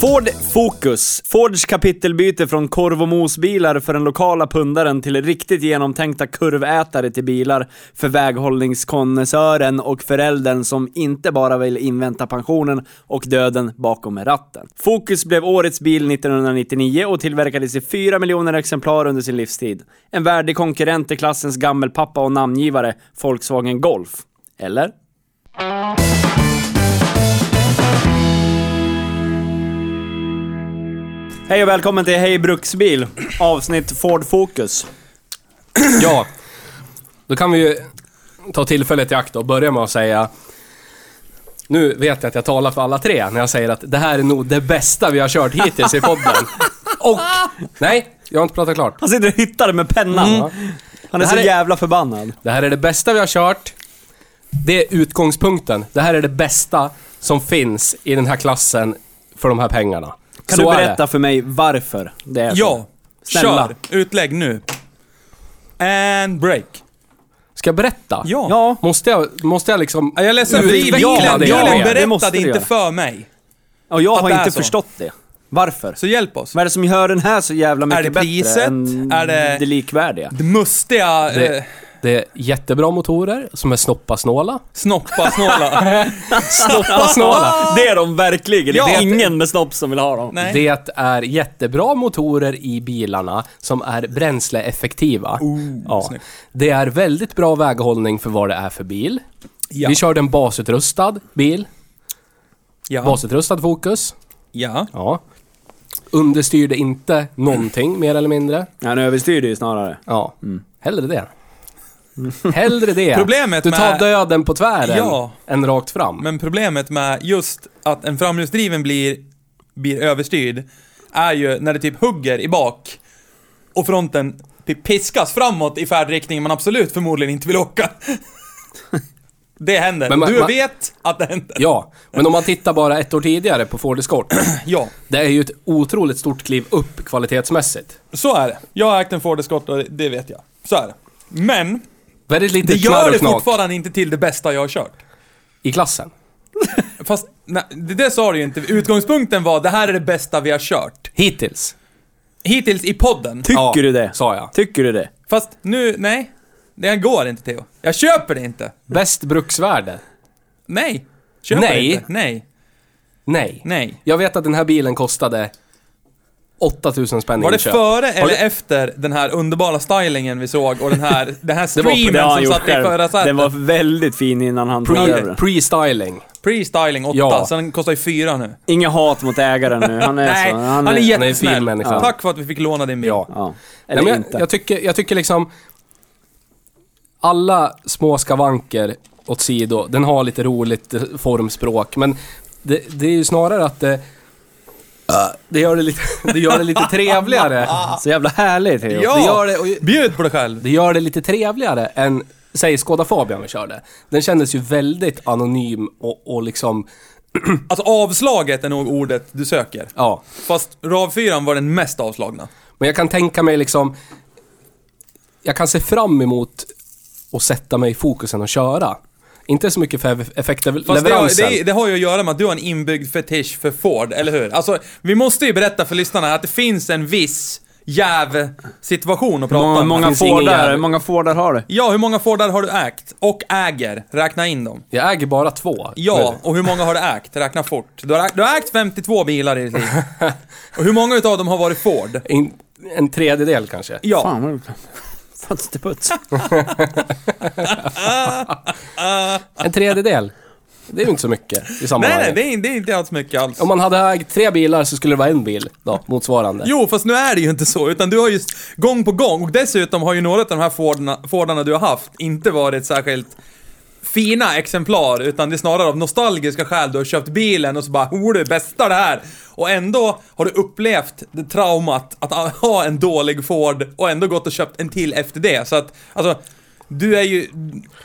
Ford Focus. Fords kapitelbyte från korv och mosbilar för den lokala pundaren till riktigt genomtänkta kurvätare till bilar för väghållningskonnässören och föräldern som inte bara vill invänta pensionen och döden bakom ratten. Focus blev årets bil 1999 och tillverkades i 4 miljoner exemplar under sin livstid. En värdig konkurrent till klassens gammelpappa och namngivare Volkswagen Golf. Eller? Hej och välkommen till Hej Bruksbil, avsnitt Ford Focus. Ja, då kan vi ju ta tillfället i akt och börja med att säga nu vet jag att jag talar för alla tre när jag säger att det här är nog det bästa vi har kört hittills i podden. Och, nej, jag har inte pratat klart. Han sitter och hittar det med pennan. Han är Mm. så Det här är- jävla förbannad. Det här är det bästa vi har kört. Det är utgångspunkten. Det här är det bästa som finns i den här klassen för de här pengarna. Kan Så du är det. berätta för mig varför det är så? Ja, Alltså, Snälla. kör! Utlägg nu. And break. Ska jag berätta? Ja. Ja. Måste jag, måste jag liksom... Jag är ledsen, Utveckla bilen, bilen det jag vet. Det måste berättade du inte göra. för mig. Och jag Att har det är inte så. förstått det. Varför? Så hjälp oss. Vad är det som gör den här så jävla mycket Är det bättre priset? än Är det- likvärdiga? Det mustiga, eh, Det, det är jättebra motorer som är snoppasnåla. snoppasnåla. Snoppasnåla! Det är de verkligen. Ja. Det är ingen med snopp som vill ha dem. Nej. Det är jättebra motorer i bilarna som är bränsleeffektiva. ja. snyggt. Det är väldigt bra väghållning för vad det är för bil. Ja. Vi körde en basutrustad bil. ja. Basutrustad fokus. ja. Ja. Understyrde inte någonting mer eller mindre. Han överstyr det ju snarare. Ja. Hellre det. Hellre det. Mm. Problemet du tar med- döden på tvären Ja. än rakt fram. Men problemet med just att en framhjulsdriven blir, blir överstyrd är ju när det typ hugger i bak och fronten typ piskas framåt i färdriktningen man absolut förmodligen inte vill åka. Det händer. Men man- du man- vet att det händer. Ja, men om man tittar bara ett år tidigare på Ford Escort. Ja, Det är ju ett otroligt stort kliv upp kvalitetsmässigt. så är det. Jag har ägt en Ford Escort och det- det vet jag. Så är det. Men, Väldigt lite det gör knarr det och knak fortfarande inte till det bästa jag har kört. i klassen. Fast, nej, det där sa du ju inte. Utgångspunkten var det här är det bästa vi har kört. Hittills. Hittills i podden. Tycker Ja, du det? sa jag. Tycker du det? Fast nu, nej. Det går inte Theo. Jag köper det inte. Bäst bruksvärde? Nej. Köper Nej. inte. Nej. Nej. Nej. Jag vet att den här bilen kostade 8000 spänn i Var det inköp. före eller det- efter den här underbara stylingen vi såg och den här, den här var på streamen har han som gjort satt i förra Den var sätet? väldigt fin innan han tog över Pre- den. Pre-styling. Pre-styling 8, Ja. så den kostar ju 4 nu. Inget hat mot ägaren nu. Han är Nej, så. han är fin jättesnäll. människa. Ja. Tack för att vi fick låna din bil. Ja. Ja. Eller Nej, men inte. jag, jag, tycker, jag tycker liksom... Alla små skavanker åt sido, den har lite roligt eh, formspråk, men det, det är ju snarare att det... Det gör det lite, det gör det lite trevligare. Så jävla härligt Theo. Ja. Det gör det, och Bjud på dig själv. Det gör det lite trevligare än, säg Skoda Fabian vi körde. Den kändes ju väldigt anonym och, och liksom, Alltså avslaget är nog ordet du söker. ja. Fast RAV4 var den mest avslagna. Men jag kan tänka mig liksom, jag kan se fram emot att sätta mig i fokusen och köra. Inte så mycket för eff- Fast det, har- effektleveransen. det, det har ju att göra med att du har en inbyggd fetisch för Ford, eller hur? Alltså, vi måste ju berätta för lyssnarna att det finns en viss jäv-situation att prata Många, om. många, finns ingen fordar, jävel. många fordar har du. Ja, hur många Fordar har du ägt? Och äger? Räkna in dem. Jag äger bara två. Ja, nu. och hur många har du ägt? Räkna fort. Du har, ägt- du har ägt 52 bilar i ditt liv. Och hur många utav dem har varit Ford? En, en tredjedel kanske. Ja. Fan vad... Fönsterputs. En tredjedel. Det är ju inte så mycket i Nej, nej, sammanhanget. det är, det är inte alls mycket alls. Om man hade ägt tre bilar så skulle det vara en bil då, motsvarande. Jo, fast nu är det ju inte så, utan du har ju gång på gång, och dessutom har ju några av de här Fordarna, Fordarna du har haft inte varit särskilt fina exemplar, utan det är snarare av nostalgiska skäl du har köpt bilen och så bara oh, det är bästa det här! Och ändå har du upplevt det traumat att ha en dålig Ford och ändå gått och köpt en till efter det, så att alltså du är ju...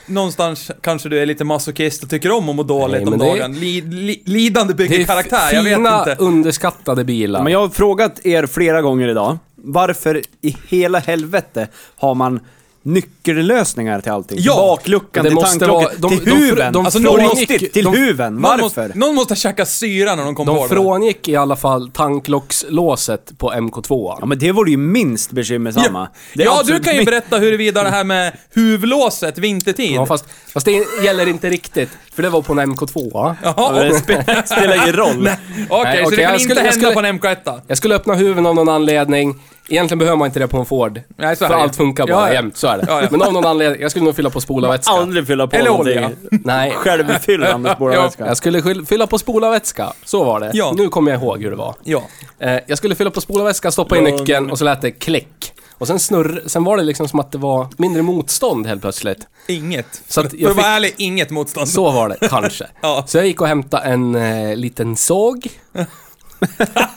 Någonstans kanske du är lite masochist och tycker om att må dåligt Nej, men om det är- dagen. Li, li, lidande bygger Det är karaktär, jag fina, vet inte. underskattade bilar. Men jag har frågat er flera gånger idag, varför i hela helvete har man nyckellösningar till allting? Ja, Bakluckan det till måste tankluckan, vara- de- till de- huven! de- de alltså från- riktigt, till de- huven! Någon Varför? måste, någon måste ha käckat syra när de kom på De det. frångick i alla fall tanklockslåset på MK2. Ja men det vore ju minst bekymmersamma. Ja, Det är ja du absolut kan ju min- berätta huruvida det här med huvudlåset vintertid. Ja, fast, fast det gäller inte riktigt, för det var på en MK2. va? Ja, men Jaha, Det spelar, spelar ingen roll. okej, Nej, så okej, det kan jag inte skulle- hända jag skulle- på en MK1? Jag skulle öppna huven av någon anledning. Egentligen behöver man inte det på en Ford. Nej, så är för det. allt funkar bara Ja, ja. jämt, så är det. Ja, ja. Men av någon anledning, jag skulle nog fylla på spolarvätska. Aldrig fylla på Eller någonting. olja. Nej, Självfyllande spårvätska. jag skulle skyll- fylla på spolarvätska. Så var det. Ja. Nu kommer jag ihåg hur det var. Ja. Eh, jag skulle fylla på spolarväskan, stoppa in Men- nyckeln och så lät det klick. Och sen snurr, sen var det liksom som att det var mindre motstånd helt plötsligt. Inget. Så att För jag att vara fick- ärlig, inget motstånd. Så var det, kanske. Ja. Så jag gick och hämtade en eh, liten såg.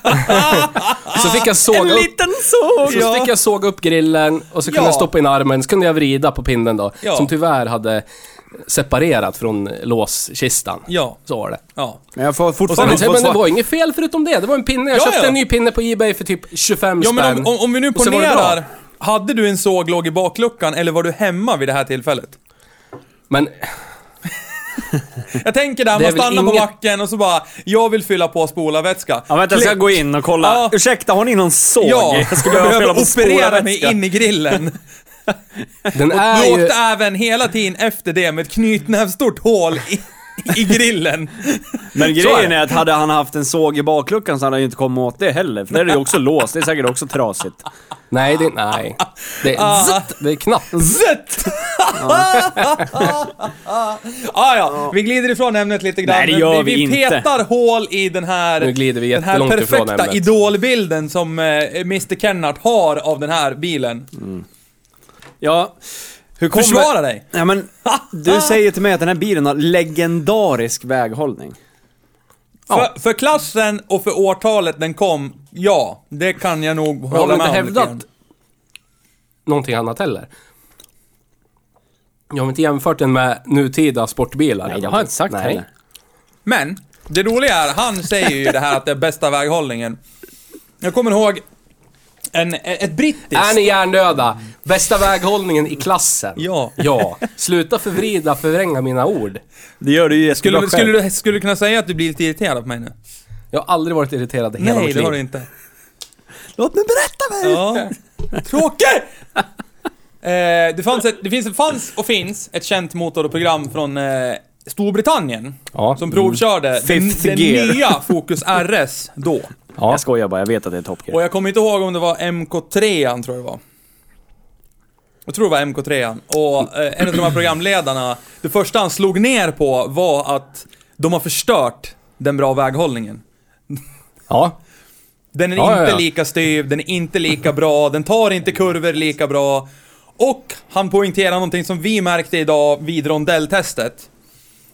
så Ah, fick jag såga En upp... liten såg! Så fick jag såga upp grillen och så kunde Ja. jag stoppa in armen, så kunde jag vrida på pinnen då. Ja. Som tyvärr hade separerat från låskistan. Ja. Så var det. Ja. Men jag får Och sen, fortfarande men, inte få det svar. var inget fel förutom det. Det var en pinne. Jag Ja, köpte ja. en ny pinne på Ebay för typ 25 ja, men spänn. om, om, om vi nu Och så var det bra. ponerar. Hade du en såg låg i bakluckan eller var du hemma vid det här tillfället? Men Jag tänker där, Det är man väl stannar på inget- macken och så bara, jag vill fylla på spolarvätska. Ja, vänta, jag ska Klick. gå in och kolla. Ja. Ursäkta, har ni någon såg? Ja, jag ska behöva behöver fylla på operera mig spolarvätska. in i grillen. den är Du ju... åkte även hela tiden efter det med ett knytnävsstort hål i, i grillen. Men Så är grejen det. är att hade han haft en såg i bakluckan så hade han ju inte kommit åt det heller. För där är det ju också låst, det är säkert också trasigt. Nej, det, nej. Det är, Ah. zzzt, det är knappt. Zett! ah, ja, vi glider ifrån ämnet lite grann. Nej, det men gör vi vi inte. petar hål i den här, Nu glider vi den här jättelångt ifrån perfekta ämnet. idolbilden som eh, Mr Kennart har av den här bilen. Ja, hur kommer... Försvara dig! Ja, men, du säger till mig att den här bilen har legendarisk väghållning. För, för klassen och för årtalet den kom, ja, det kan jag nog Jag har hålla inte med om. lite hävdat grann. någonting annat heller. Jag har inte jämfört den med nutida sportbilar. Nej, det har jag inte sagt Nej. heller. Men, det roliga är, han säger ju det här att det är bästa väghållningen. Jag kommer ihåg en, ett brittiskt... Är ni hjärndöda? Bästa väghållningen i klassen? Ja. Ja. Sluta förvrida, förvränga mina ord. Det gör du ju jättebra Skulle, själv. skulle, du, skulle du kunna säga att du blir lite irriterad på mig nu? Jag har aldrig varit irriterad i hela Nej, det mitt liv. har du inte. Låt mig berätta mig! Ja. Tråkig! Eh, det, fanns ett, det finns, fanns och finns ett känt motorprogram från eh, Storbritannien. Ja. Som provkörde den, Fifth den gear. nya Focus RS då. Ja. Jag skojar bara, jag vet att det är Top Gear. Och jag kommer inte ihåg om det var MK3 an tror jag det var. Jag tror det var MK3 an. Och eh, en av de här programledarna, det första han slog ner på var att de har förstört den bra väghållningen. Ja. Den är Ja, ja, inte ja. lika styv, den är inte lika bra, den tar inte kurvor lika bra. Och han poängterar någonting som vi märkte idag vid rondelltestet.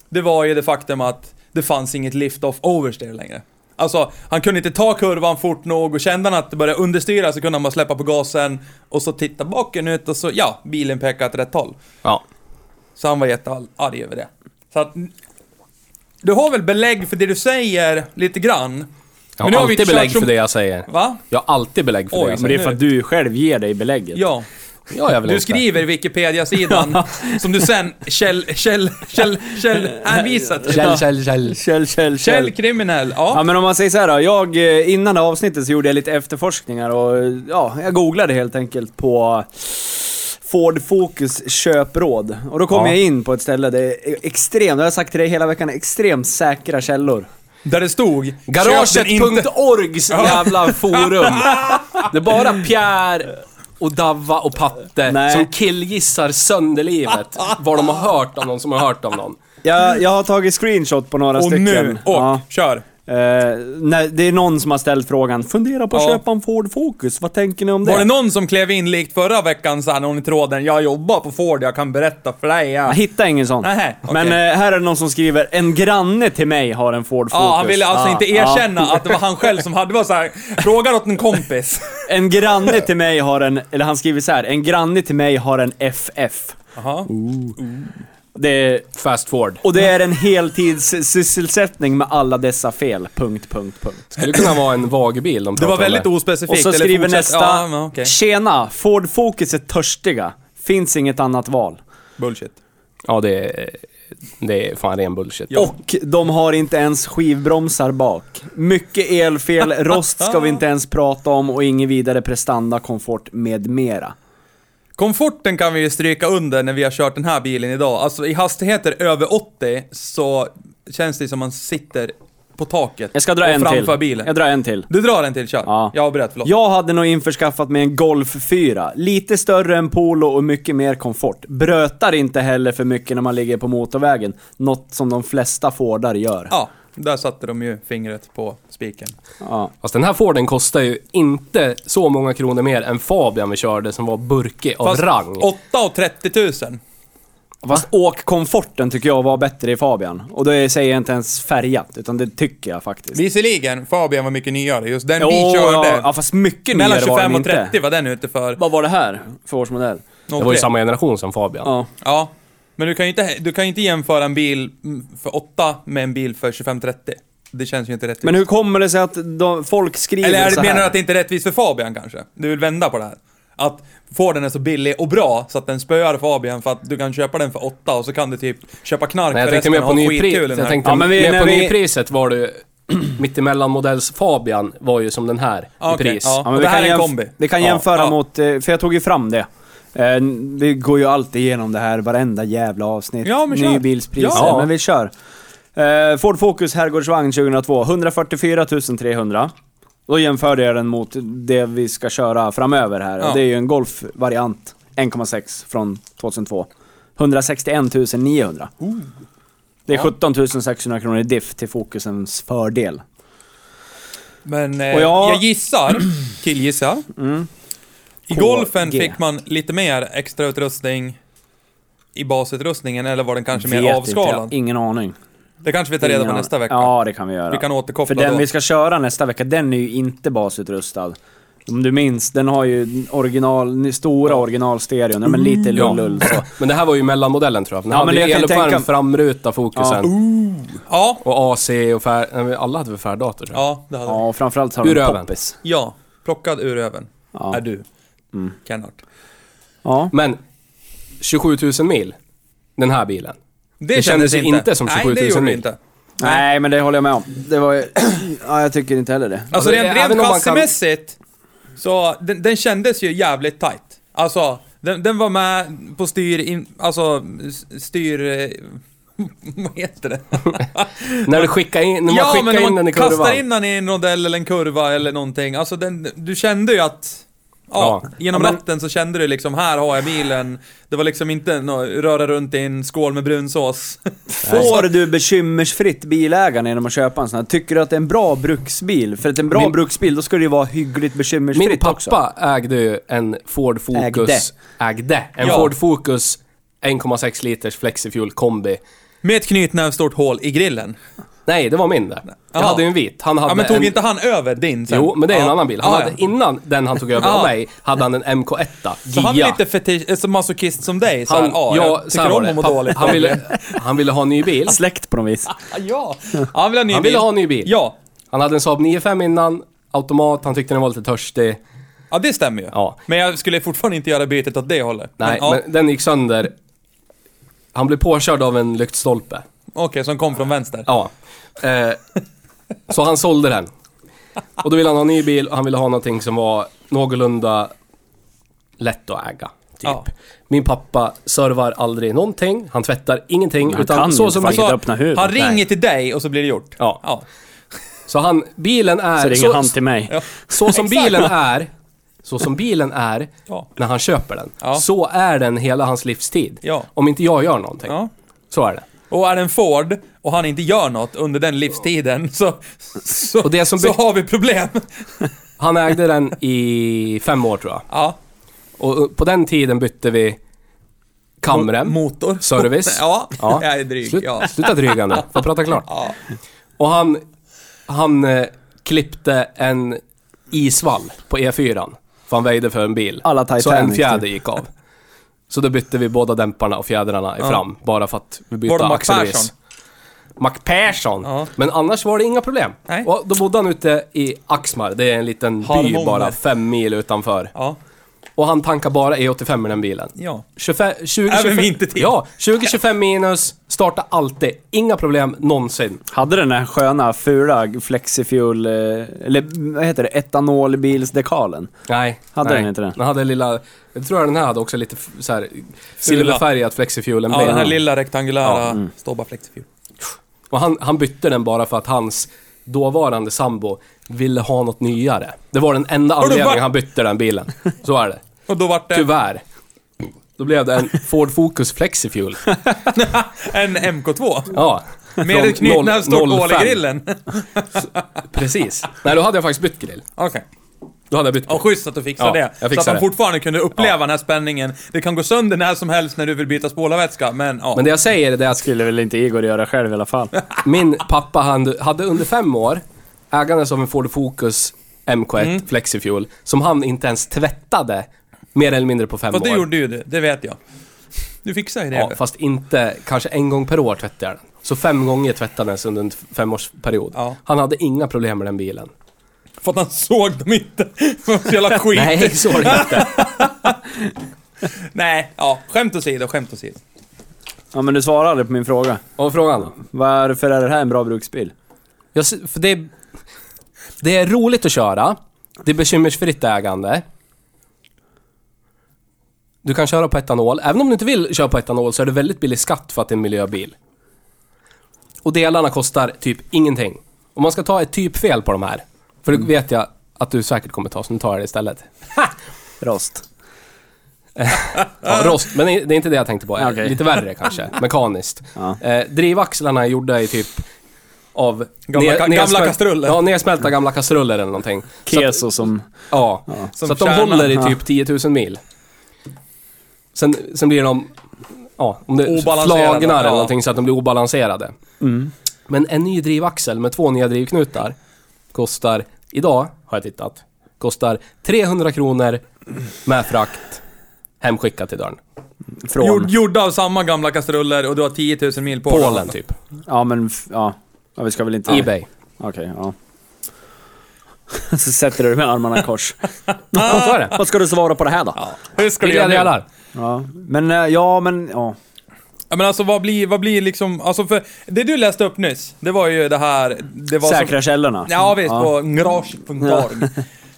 Det var ju det faktum att det fanns inget lift-off oversteer längre. Alltså, han kunde inte ta kurvan fort nog och kände han att det började understyra så kunde han bara släppa på gasen och så titta bakåt och så, ja, bilen pekade åt rätt håll. ja. Så han var jättearg över det. Så att... Du har väl belägg för det du säger lite grann? Jag har nu har vi alltid kört belägg som- för det jag säger. Va? Jag har alltid belägg för Oj, det jag Men det säger. är för att du själv ger dig belägget. Ja. Ja, jag vill Du inte. skriver Wikipedia-sidan som du sen käll, käll, käll, käll hänvisar till. Käll, käll, käll. Käll, käll, käll. Källkriminell, Ja ja. men om man säger så här då, jag, eh, innan det här avsnittet så gjorde jag lite efterforskningar och eh, ja, jag googlade helt enkelt på Ford Focus köpråd. Och då kom Ja. jag in på ett ställe där det är extremt, det har jag sagt till dig hela veckan, extremt säkra källor. Där det stod... köp den inte. Garaget.orgs jävla forum. Det är bara Pierre och Davva och Patte Nej. som killgissar sönder livet vad de har hört om någon som har hört om någon. Jag, jag har tagit screenshot på några Och stycken. nu, och Ja. kör! Eh, nej, det är någon som har ställt frågan, fundera på att Ja. köpa en Ford Focus, vad tänker ni om det? Var det någon som klev in likt förra veckan så här, någon i tråden, jag jobbar på Ford, jag kan berätta för dig. Ja, jag hittade ingen sån. Nähä, okej. Men eh, här är det någon som skriver, en granne till mig har en Ford Focus. Ja, han ville alltså Ah, inte ah. erkänna att det var han själv som hade, det var så här, frågar åt en kompis. En granne till mig har en, eller han skriver så här, en granne till mig har en FF. Jaha. Oh, Det är, Fast forward. och det är en heltidssysselsättning med alla dessa fel. Punkt, punkt, punkt. Skulle kunna vara en vagbil de Det pratar var om väldigt där. Och ospecifikt. så eller skriver fortsätt- nästa, Ja, men okej. Tjena! Ford Focus är törstiga. Finns inget annat val. Bullshit. Ja, det är, det är fan ren bullshit. Och de har inte ens skivbromsar bak. Mycket elfel, rost ska vi inte ens prata om och ingen vidare prestanda, komfort med mera. Komforten kan vi ju stryka under när vi har kört den här bilen idag. Alltså i hastigheter över 80 så känns det som man sitter på taket Jag ska dra och en framför till. bilen. Jag drar en till. Du drar en till, kör. Ja. Jag avbröt, förlåt. Jag hade nog införskaffat mig en Golf 4. Lite större än Polo och mycket mer komfort. Brötar inte heller för mycket när man ligger på motorvägen. Något som de flesta Fordar gör. Ja, där satte de ju fingret på spiken. Ja. Fast den här Forden kostar ju inte så många kronor mer än Fabian vi körde som var burkig av Fast rang. 8 och 30 000. Fast åkkomforten tycker jag var bättre i Fabian. Och det säger jag inte ens färgat, utan det tycker jag faktiskt. Visserligen, Fabian var mycket nyare. Just den vi Jo, körde, Ja, fast mycket mellan nyare var den 25 och inte. 30 var den ute för. Vad var det här för årsmodell? Det var ju samma generation som Fabian. Ja. Ja. Men du kan ju inte, du kan ju inte jämföra en bil mm, för 8 med en bil för 25-30. Det känns ju inte rättvist. Men hur kommer det sig att de, folk skriver Eller är så det, här? menar du att det inte är rättvist för Fabian kanske? Du vill vända på det här? Att Forden är så billig och bra så att den spöar Fabian för att du kan köpa den för 8 och så kan du typ köpa knark Nej, jag för tänkte resten mer och på ha skitkul nypriset. den här. Jag tänkte Ja, men vi- mer på när vi- nypriset var det mittemellan modells Fabian var ju som den här Ja, i Ah, okej, pris. ja. men Och vi det här kan är en jämf- kombi. Vi kan Ja, jämföra ja. mot, eh, för jag tog ju fram det. Eh, Vi går ju alltid igenom det här varenda jävla avsnitt. Ja, men kör. Nybilspriser. Ja. Men vi kör. Eh, Ford Focus herrgårdsvagn 2002, 144 300. Då jämförde jag den mot det vi ska köra framöver här. Ja. Och det är ju en Golf-variant, 1,6 från 2002. 161 900. Det är 17 600 kronor i diff till Focusens fördel. Men eh, Och jag- Mm. jag gissar, killgissar. I KG. golfen fick man lite mer extrautrustning i basutrustningen eller var den kanske Vet mer inte, avskalad? jag har Ingen aning. Det kanske vi tar reda på Ingen nästa aning. vecka. Ja, det kan vi göra. Vi kan återkoppla För den då. vi ska köra nästa vecka, den är ju inte basutrustad. Om du minns, den har ju original, den stora originalstereon, ja, men lite Mm, Ja. lull-lull så. Men det här var ju mellanmodellen tror jag. Den Ja, hade men ju jag kan ju eluppvärmd tänka- framruta, fokusen. Ja, Och AC och fär... nej, vi- Alla hade väl färgdator tror jag. ja det hade vi. Ja, och framförallt har Ur den öven. poppis. Ja, plockad ur öven. Ja. Mm. Är du. Kennart. Ja. Men 27 000 mil, den här bilen. Det, kändes ju inte som 27 Nej, 000 det gjorde det mil. inte. Nej, men det håller jag med om. Det var ju... ja, jag tycker inte heller det. Alltså Alltså, rent, även rent om man kan- chassimässigt, så den, den kändes ju jävligt tight. Alltså, den, den var med på styr... In, alltså, s- styr... eh, Vad heter det? När du skickar in, när man ja, skickar men när in man den i kurvan. kastar in den i en rondell eller en kurva eller någonting. Alltså den, du kände ju att... Ja, Ja. genom Ja, men- ratten så kände du liksom, här har jag bilen. Det var liksom inte nå- röra runt i en skål med brunsås. Får du bekymmersfritt bilägaren genom att köpa en sån här? Tycker du att det är en bra bruksbil? För att en bra Min- bruksbil, då ska det ju vara hyggligt bekymmersfritt Min pappa också. ägde ju en Ford Focus... Ägde. En Ja. Ford Focus 1,6 liters flexifuel kombi. med ett knytnävstort hål i grillen. Nej, det var min det. Jag Jaha. hade ju en vit. Han hade Ja, men tog en... inte han över din sen? Jo, men det är en Ja. Ah, annan bil. Han Ja, hade, ja. Innan den han tog över Ja. av mig, hade han en MK1. Så han är Gia. lite fetisch, eh, så masochist som dig? Så här, Han, ja, ja, jag så tycker här var om det. att må Pappa- dåligt. Han ville, han ville ha en ny bil. Släkt på något vis. Ah, ja. Han vill ha en ny bil. Han ville ha en ny bil. Ja. Han hade en Saab 9-5 innan, automat, han tyckte den var lite törstig. ja, det stämmer ju. Ja. Men jag skulle fortfarande inte göra bytet åt det hållet. Nej, ja. men den gick sönder. Han blev påkörd av en lyktstolpe. Okej, som kom från vänster. Ja. Eh, så han sålde den. Och då ville han ha en ny bil och han ville ha någonting som var någorlunda lätt att äga. Typ. Ja. Min pappa servar aldrig någonting, han tvättar ingenting. han utan kan ju så, inte som fan. han, Vilket öppna huvud. han ringer Nej. till dig och så blir det gjort. Ja. ja. så han, bilen är... Så ringer han till mig. Ja. Så som Exakt. bilen är, så som bilen är Ja. när han köper den. Ja. Så är den hela hans livstid. Ja. Om inte jag gör någonting. Ja. Så är det. Och är det en Ford och han inte gör något under den livstiden så, så, Och det som så blir- har vi problem. Han ägde den i fem år tror jag. Ja. Och på den tiden bytte vi kamrem. Motor. Service. Ja, Ja. jag är dryg. Slut, Ja. Sluta dryga nu, får prata klart. Ja. Och han, han eh, klippte en isvall på E4. För han väjde för en bil. Alla Titanic, så en fjäder typ. gick av. Så då bytte vi båda dämparna och fjädrarna i fram. Bara för att vi bytte Var det Mac axelvis. Persson? Mac Persson? Ja. Men annars var det inga problem. Nej. Och då bodde han ute i Axmar. Det är en liten Harmoner. by bara fem mil utanför. Ja. Och han tankar bara E85 i den bilen. Ja. 25, 20, Även 25 vintertid. Ja, 20-25 minus, starta alltid. Inga problem någonsin. Hade den här sköna, fula flexifuel, eh, eller vad heter det, etanolbilsdekalen? Nej. Hade nej. den inte det? Den hade lilla... Jag tror den här hade också lite f- så här silverfärgat flexifuel ja, den här lilla Ja, Mm. rektangulära står bara flexifjul. Och han, han bytte den bara för att hans dåvarande sambo ville ha något nyare. Det var den enda du anledningen va- han bytte den bilen. Så är det. Och då vart det Tyvärr. Då blev det en Ford Focus Flexifuel. en MK2. Ja. Med Från ett knytnävsstort 0- hål 05. i grillen. Precis. Nej, då hade jag faktiskt bytt grill. Okej. Då hade jag bytt Ja, schysst att du fixar Ja, det. jag så fixar att man det. fortfarande kunde uppleva den här spänningen. Det kan gå sönder när som helst när du vill byta spolarvätska, men ja. Men det jag säger är det att Skulle väl inte Igor göra själv i alla fall. min pappa han hade under fem år ägandes av en Ford Focus MK1 Mm. Flexifuel som han inte ens tvättade mer eller mindre på fem Fast år. det gjorde ju du, det vet jag. Du fixar ju det. ja, fast inte kanske en gång per år tvättade jag den. Så fem gånger tvättades under en f- femårsperiod. Ja. Han hade inga problem med den bilen. För att han såg dem inte. Det var så jävla skit. Nej, så var det inte. Nej, ja. Skämt åsido, skämt åsido. Ja, men du svarar aldrig på min fråga. Och frågan då? Varför är det här en bra bruksbil? Jag, s- för det, är, det är roligt att köra. Det är bekymmersfritt ägande. Du kan köra på etanol. Även om du inte vill köra på etanol så är det väldigt billig skatt för att det är en miljöbil. Och delarna kostar typ ingenting. Om man ska ta ett typfel på de här. För det vet jag att du säkert kommer ta, så nu tar jag det istället. Rost. Ja, rost, men det är inte det jag tänkte på. Okej. Lite värre kanske, mekaniskt. Ja. Eh, drivaxlarna är gjorda i typ av... Gamla ka- gamla nedsmält- kastruller. Ja, nedsmälta gamla kastruller eller någonting. Så att, Keso som... ja, Som så att de kärnan. håller i Ja. typ 10 000 mil. Sen, sen blir de... Ja, om det Obalanserade, flagnar eller ja. Mm. någonting så att de blir obalanserade. Men en ny drivaxel med två nya drivknutar kostar, idag har jag tittat, kostar 300 kronor med frakt hemskickat till dörren. Från... Gjord, gjorda av samma gamla kastruller och du har 10 000 mil på Polen typ. Ja, men... f- Ja. ja vi ska väl inte... Ebay. Okej, ja. Så sätter du dig med armarna i kors. Ja, så är det. Vad ska du svara på det här då? Ja. Hur ska du Billiga göra nu? delar. Men, eh, ja men, ja. Ja, men alltså vad blir, vad blir liksom, alltså för det du läste upp nyss, det var ju det här, det var Säkra källorna. Som, ja visst, på garage.org.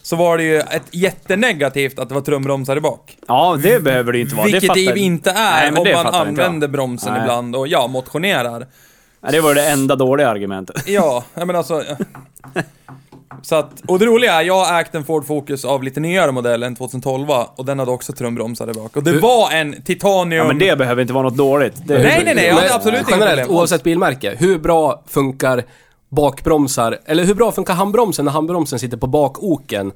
Så var det ju ett jättenegativt att det var trumbromsar i bak. Ja, det behöver det ju inte vara. Vilket det det fattar- ju inte är Nej, men om det man fattar inte jag. använder bromsen Nej. ibland och ja, motionerar. Nej, det var det enda dåliga argumentet. Ja, jag menar alltså... Så att, och det roliga är, jag har ägt en Ford Focus av lite nyare modell, en 2012 och den hade också trumbromsar där bak. Och det var en titanium... Ja, men det behöver inte vara något dåligt. Det- Nej, nej, nej, jag hade Men absolut inga Generellt, problem. oavsett bilmärke. Hur bra funkar bakbromsar, eller hur bra funkar handbromsen när handbromsen sitter på bakoken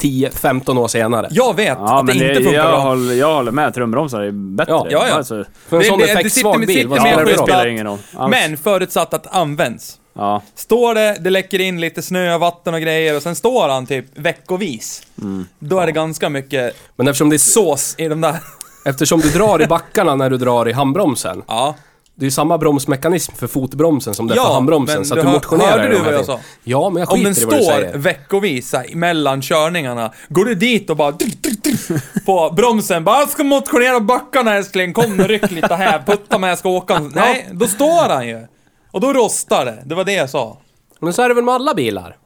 10-15 år senare? Jag vet Ja, att det men inte funkar jag, bra. håller, jag håller med. Trumbromsar är bättre. Ja, ja, ja. Alltså, För en Det- sån det- det effektsvag sitter- det bil, vad sitter ja, spelar med det det för skyddsband. roll? spelar ingen roll. alls. Men förutsatt att det används. Ja. Står det, det läcker in lite snö, vatten och grejer och sen står han typ veckovis. Mm. Då är det ganska mycket Men eftersom, det är så, sås i de där. eftersom du drar i backarna när du drar i handbromsen. Ja. Det är ju samma bromsmekanism för fotbromsen som det är Ja, för handbromsen. men Så du att du hör- motionerar hörde i du de här vad jag grejerna. sa? Ja, men jag Om skiter den i vad du står säger. veckovis här, mellan körningarna, går du dit och bara drr, drr, drr, på bromsen, bara jag ska motionera backarna älskling, kom nu ryck lite här, putta mig, jag ska åka. Nej, då står han ju. Och då rostar det, det var det jag sa. Men så är det väl med alla bilar?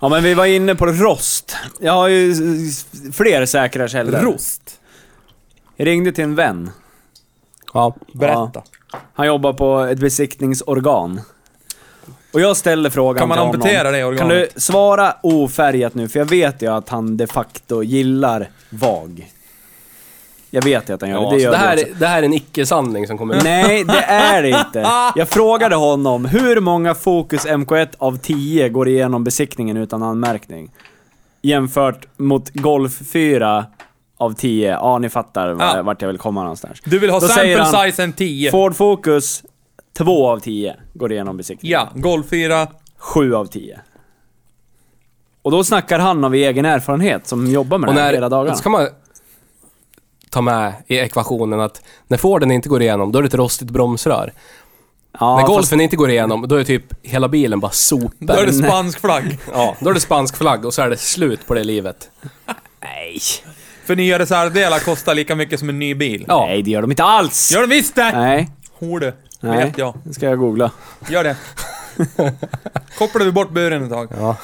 ja, men vi var inne på rost. Jag har ju s- s- fler säkra källor. Rost? Jag ringde till en vän. Ja. Berätta. Han jobbar på ett besiktningsorgan. Och jag ställer frågan Kan man till amputera honom. det organet? Kan du svara ofärgat nu? För jag vet ju att han de facto gillar VAG. Jag vet ju att han gör Ja, det. Det det, gör så det, här, du är- det här är en icke-sanning som kommer ut. Nej, det är det inte. Jag frågade honom hur många Focus MK1 av 10 går igenom besiktningen utan anmärkning? Jämfört mot Golf 4 av 10. Ja, ni fattar var- Ja. vart jag vill komma någonstans. Du vill ha Då sample säger han, size en 10. Ford Focus 2 av 10 går igenom besiktningen. Ja, Golf 4. 7 av 10. Och då snackar han av egen erfarenhet som jobbar med Och det här hela när, dagarna. så kan man ta med i ekvationen att när Forden inte går igenom, då är det ett rostigt bromsrör. Ja, när fast- golfen inte går igenom, då är typ hela bilen bara sopor. Då är det spansk flagg. Ja, då är det spansk flagg och så är det slut på det livet. Nej. För nya reservdelar kostar lika mycket som en ny bil. Ja. Nej, det gör de inte alls! Gör den visst det! Nej, Horde. nej. Vet jag. Det ska jag googla. Gör det. Kopplar du bort buren ett tag. Ja.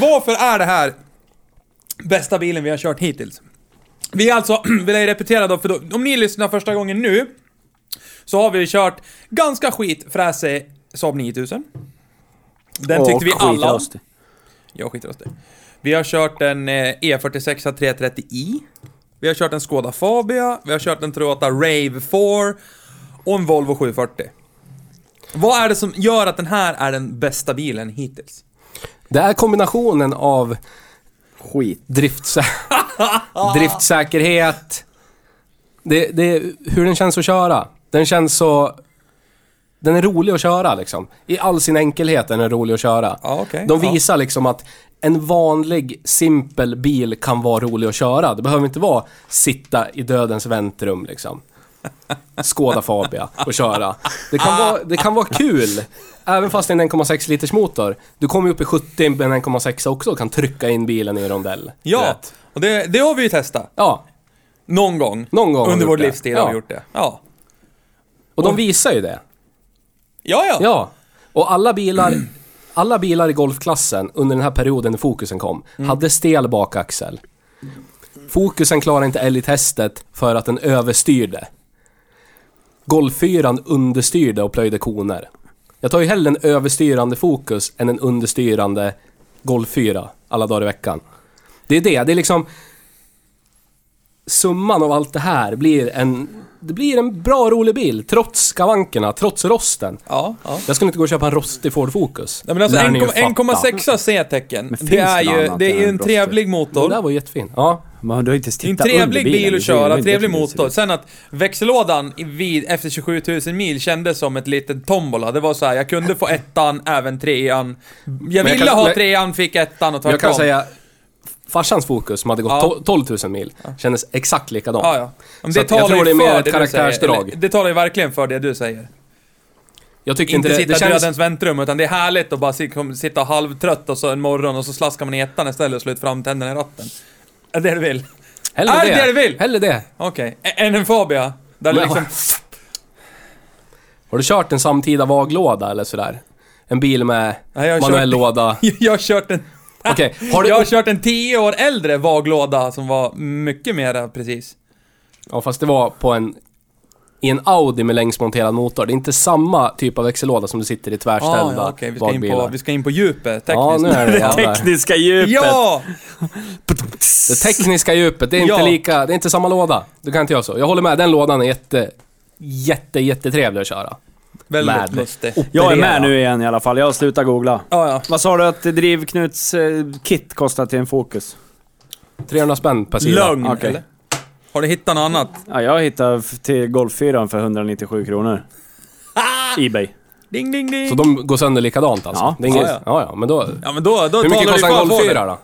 Varför är det här bästa bilen vi har kört hittills? Vi är alltså, vill jag repetera då, för då, om ni lyssnar första gången nu så har vi kört ganska skitfräsig Saab 9000. Den tyckte Och vi alla om. skitrost. Jag skiter i det. Vi har kört en eh, E46 330i. Vi har kört en Skoda Fabia. Vi har kört en Toyota Rave 4. Och en Volvo 740. Vad är det som gör att den här är den bästa bilen hittills? Det är kombinationen av Skit. driftsa- driftsäkerhet, det, det är hur den känns att köra. Den känns så... Den är rolig att köra liksom. I all sin enkelhet är den rolig att köra. Ja, okej. De Ja. visar liksom att en vanlig, simpel bil kan vara rolig att köra. Det behöver inte vara sitta i dödens väntrum liksom. Skåda Fabia och köra. Det kan, vara, det kan vara kul. Även fast det är en 1,6 liters motor. Du kommer ju upp i 70 med en 1,6 också och kan trycka in bilen i en rondell. Du Ja, vet. och det, det har vi ju testat. Ja. Någon gång. Någon gång har Under vi vår gjort det. livstid har vi Ja. gjort det. Ja. Och de visar ju det. Ja, ja. Ja. Och alla bilar, alla bilar i golfklassen under den här perioden när fokusen kom, hade stel bakaxel. Fokusen klarade inte älgtestet för att den överstyrde. Golffyran understyrde och plöjde koner. Jag tar ju hellre en överstyrande fokus än en understyrande golffyra alla dagar i veckan. Det är det, det är liksom... Summan av allt det här blir en... Det blir en bra rolig bil, trots skavankerna, trots rosten. ja, ja. Jag skulle inte gå och köpa en rostig Ford Focus. Nej, men alltså Lär ni ju fatta. 1,6 C-tecken. finns Det är det något ju annat det är ju än en brottslig? trevlig Den motor. där var jättefin. Ja. Men du har inte ens Det är en tittat trevlig under bilen, bil det att ser ju köra, inte trevlig hur det ser motor. ut. Sen att växellådan i- vid, efter 27 000 mil kändes som ett litet tombola. Det var så här, jag kunde få ettan, även trean. Jag jag ville kan- ha men- trean, fick ettan och tvärtom. Jag kan säga, farsans Focus som hade gått Ja. to- 12 000 mil kändes exakt likadant. Ja, ja. Men Så det att jag talar tror ju det är mer för ett du säger. karaktärsdrag. Eller, Det talar ju verkligen för det du säger. Jag tyckte Inte inte, det, sitta det i kändes... dödens väntrum, utan det är härligt att bara sit- kom- sitta halvtrött och så en morgon och så slaskar man i ettan istället och slår ut framtänderna i ratten. Är det det du vill? Hellre Är det det du vill? Hellre det. Okej. Ä- Än en Fabia? Där Men- liksom... Har du kört en samtida vaglåda eller sådär? En bil med Nej, jag har manuell kört- låda? Jag har kört en... Okej, har du- Jag har kört en 10 år äldre vaglåda som var mycket mera precis. Ja, fast det var på en... I en Audi med längsmonterad motor. Det är inte samma typ av växellåda som du sitter i tvärställda Ah, ja, okej. Vi, ska in på- vagbilar. vi ska in på djupet tekniskt. Ja, nu är det jävlar. Tekniska djupet. Ja! Det tekniska djupet, det är inte Ja. lika, det är inte samma låda. Du kan inte göra så. Jag håller med, den lådan är jätte, jätte, jättetrevlig att köra. Väldigt Mad. lustig. Jag är Operera. med nu igen i alla fall. Jag har slutat googla. Ja, ja. Vad sa du att drivknuts eh, kit kostar till en Focus? 300 spänn per sida. Lögn, Okej. eller? Har du hittat något annat? Ja, jag hittade f- till Golf 4 för 197 kronor. Ebay. Ding, ding, ding! Så de går sönder likadant alltså? Ja. Det är inget, Ja, ja, ja. ja. men då... Ja, men då, då hur mycket talar kostar en du Golf för 4 då?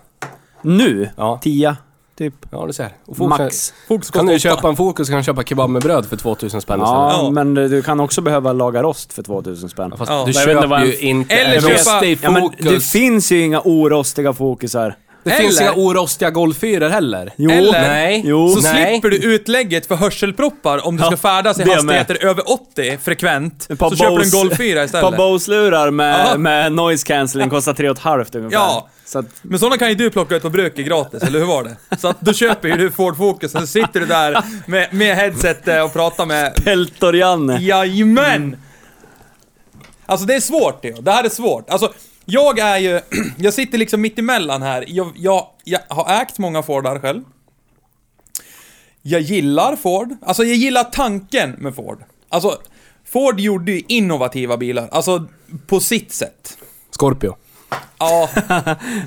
Nu? Ja. Tia, typ. ja, du ser. Och Focus- Max. Fokus Kan du ju köpa en Focus kan du köpa kebab med bröd för 2000 spänn istället. Ja, Ja. men du kan också behöva laga rost för 2000 spänn. Fast Ja. du Jag vet inte vad köper en- ju inte Eller en köpa- rostig Ja, men Focus. det finns ju inga orostiga Focusar. det finns Eller- inga orostiga golffyror heller. Jo. Eller- Nej. Jo. Så Nej. slipper du utlägget för hörselproppar om du Ja, ska färdas i det hastigheter över 80 frekvent. Så Ett par köper du en Bose- Golf 4 Ett par istället. Bose-lurar Ja. med, med noise cancelling kostar 3,5 ungefär. Ja. Så att, Men sådana kan ju du plocka ut på bruket gratis, eller hur var det? Så att då köper ju du Ford Focus och så sitter du där med, med headset eh, och pratar med... peltor Janne. Jajamän! Alltså det är svårt det. Det här är svårt. Alltså, jag är ju... jag sitter liksom mitt emellan här. Jag, jag, jag har ägt många Fordar själv. Jag gillar Ford. Alltså jag gillar tanken med Ford. Alltså, Ford gjorde ju innovativa bilar. Alltså, på sitt sätt. Scorpio. Ja,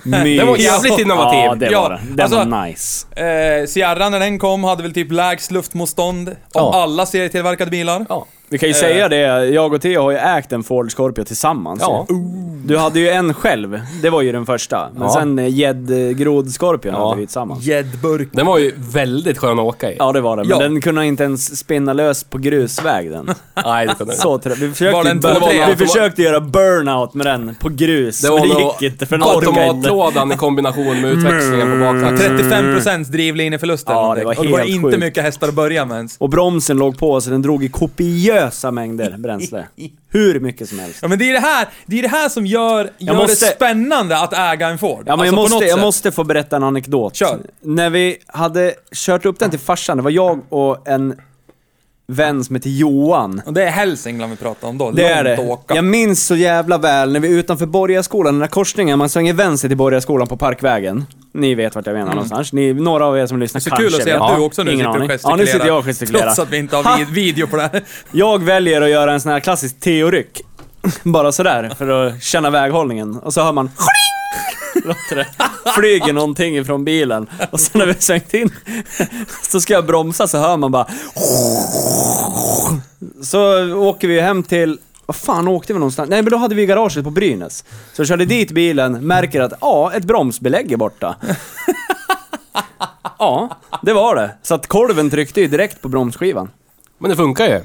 Det var jävligt innovativ. Ja, det Ja, var det. Den alltså- var nice. eh, Sierra när den kom hade väl typ lägst luftmotstånd av Ja. alla serietillverkade bilar. Ja. Vi kan ju Eh. säga det, jag och Theo har ju ägt en Ford Scorpio tillsammans. Ja. ju. Du hade ju en själv, det var ju den första. Men Ja. sen eh, gäddgrod Scorpion Ja. hade vi tillsammans. Gäddburk. Den var ju väldigt skön att åka i. Ja det var det, men Ja. den kunde inte ens spinna lös på grusväg den. Nej, det kunde den Så trä- vi Var försökte, det en två, tre? Alltså, vi försökte göra burnout med den på grus, Det men var det nog gick inte för den orkade inte. automatlådan i kombination med utväxlingen på baktaxeln. 35% drivlinjeförluster. Ja, det var och det var helt inte sjukt. mycket hästar att börja med ens. Och bromsen låg på så den drog i kopiösa mängder bränsle. Hur mycket som helst. Ja, men det är det här, det, är det här som gör, gör måste- det spännande att äga en Ford. Ja, Alltså, men på jag, något måste, jag sätt. måste få berätta en anekdot. Kör. När vi hade kört upp den till farsan, det var jag och en vän som heter Johan. Och det är Hälsingland vi pratar om då. Det är Långt att det. Åka. Jag minns så jävla väl när vi är utanför Borgarskolan, den där korsningen, man svänger vänster till Borgarskolan på Parkvägen. Ni vet vart jag menar någonstans. Ni, några av er som lyssnar Mm. Så kanske kul att se vet. att du Ja, också nu ingen sitter och aning. gestikulerar. Ja, nu sitter jag och gestikulerar. Trots att vi inte har vid, video på det här. Jag väljer att göra en sån här klassisk teoryck. Bara sådär, för att känna väghållningen. Och så hör man "Schling!" Låter det. Flyger någonting ifrån bilen. Och sen när vi har svängt in, så ska jag bromsa så hör man bara Så åker vi hem till vad fan åkte vi någonstans? Nej men då hade vi garaget på Brynäs. Så jag körde dit bilen, märker att ja, ett bromsbelägg är borta. Ja, det var det. Så att kolven tryckte ju direkt på bromsskivan. Men det funkar ju.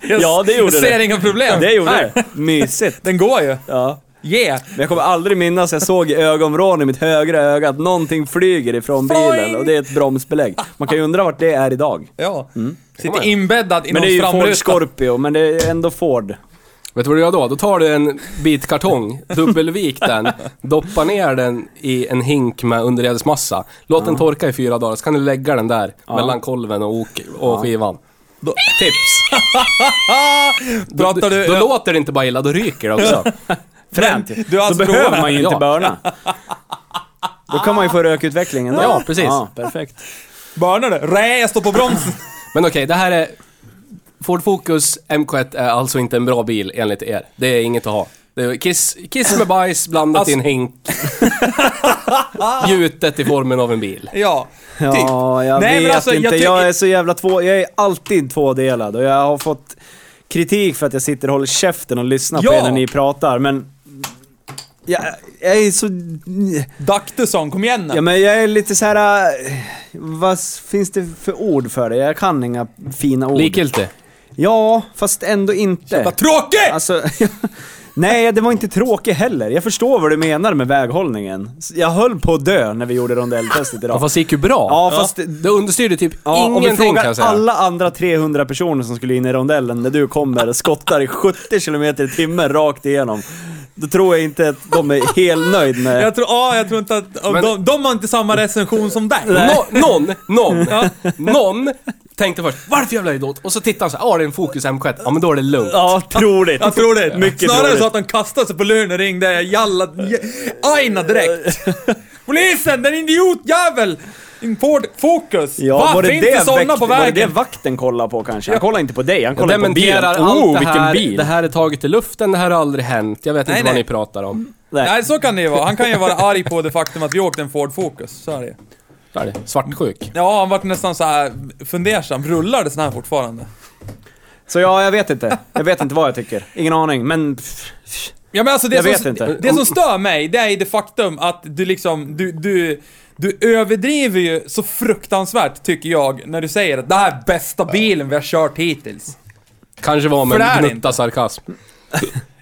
Jag Ja, det gjorde ser det. inga problem. Det gjorde Nej. det. Mysigt. Den går ju. Ja. Yeah. Men jag kommer aldrig minnas, jag såg i ögonvrån i mitt högra öga att någonting flyger ifrån bilen Boing! och det är ett bromsbelägg. Man kan ju undra vart det är idag. Ja. Sitter inbäddad i Mm. Men det är någons ju Ford framruta. Scorpio, men det är ändå Ford. Vet du vad du gör då? Då tar du en bit kartong, dubbelvik den, doppar ner den i en hink med underredsmassa. Låt den torka i fyra dagar, så kan du lägga den där mellan kolven och, ok- och skivan. Då, tips! Pratar du... då låter det inte bara illa, då ryker det också. Fränt Men, du Då har alltså behöver provat. man ju inte Ja. börna. Då kan man ju få rökutvecklingen då. Ja, precis. perfekt. Börnar det? Rä, jag står på bromsen. Men okej, det här är... Ford Focus MK1 är alltså inte en bra bil enligt er. Det är inget att ha. Det är kiss, kiss med bajs blandat i en Alltså- hink. Gjutet i formen av en bil. Ja. Ja, Typ. jag Typ. Nej, men vet alltså, jag inte. Jag, tycker- är så jävla två... Jag är alltid tvådelad och jag har fått kritik för att jag sitter och håller käften och lyssnar på Ja. er när ni pratar, men... Jag, jag är så... Ducktusson, kom igen nu. Ja, men jag är lite så här. äh, Vad s- finns det för ord för det? Jag kan inga fina ord. Likgiltig. Ja, fast ändå inte. Vad tråkigt! Alltså, nej, det var inte tråkigt heller. Jag förstår vad du menar med väghållningen. Jag höll på att dö när vi gjorde rondelltestet Ja, idag. fast det gick ju bra. Ja, fast det- Det understyrde typ Ja, om vi ingenting kan frågar jag säga. alla andra 300 personer som skulle in i rondellen när du kommer och skottar i 70 km i timmen rakt igenom. Då tror jag inte att de är helt nöjd med... Jag tror, ja, jag tror inte att... Men- de, de har inte samma recension som dig. Nå, någon, någon, någon tänkte först varför jävla idiot? Och så tittar han såhär, ja ah, det är en Focus M1. Ja men då är det lugnt. Ja, troligt. Jag tror det. Mycket Snarare troligt. så att de kastade sig på luren och ringde jalla... j- Aina direkt. Polisen, den idiotjävel! In Ford Focus. Ja, Va, var det finns det, det sådana väkt- på Var det det vägen? vakten kollade på kanske? Han kollade inte på dig, han Jag kollade på bilen. Oh, dementerar allt det vilken här. bil! Det här är taget i luften, det här har aldrig hänt. Jag vet Nej, inte vad nej. ni pratar om. Nej, så kan det ju vara. Han kan ju vara arg på det faktum att vi åkte en Ford Focus. Så är det ju. Där är det. Svartsjuk. Ja, han vart nästan så här fundersam. Rullar det sån här fortfarande? Så ja, jag vet inte. Jag vet inte vad jag tycker. Ingen aning, men... pff, pff. Ja, men alltså det Jag som, vet inte. Det som stör mig, det är ju det faktum att du liksom, du, du, du överdriver ju så fruktansvärt, tycker jag, när du säger att det här är bästa bilen vi har kört hittills. Kanske var För det med är en det gnutta sarkasm.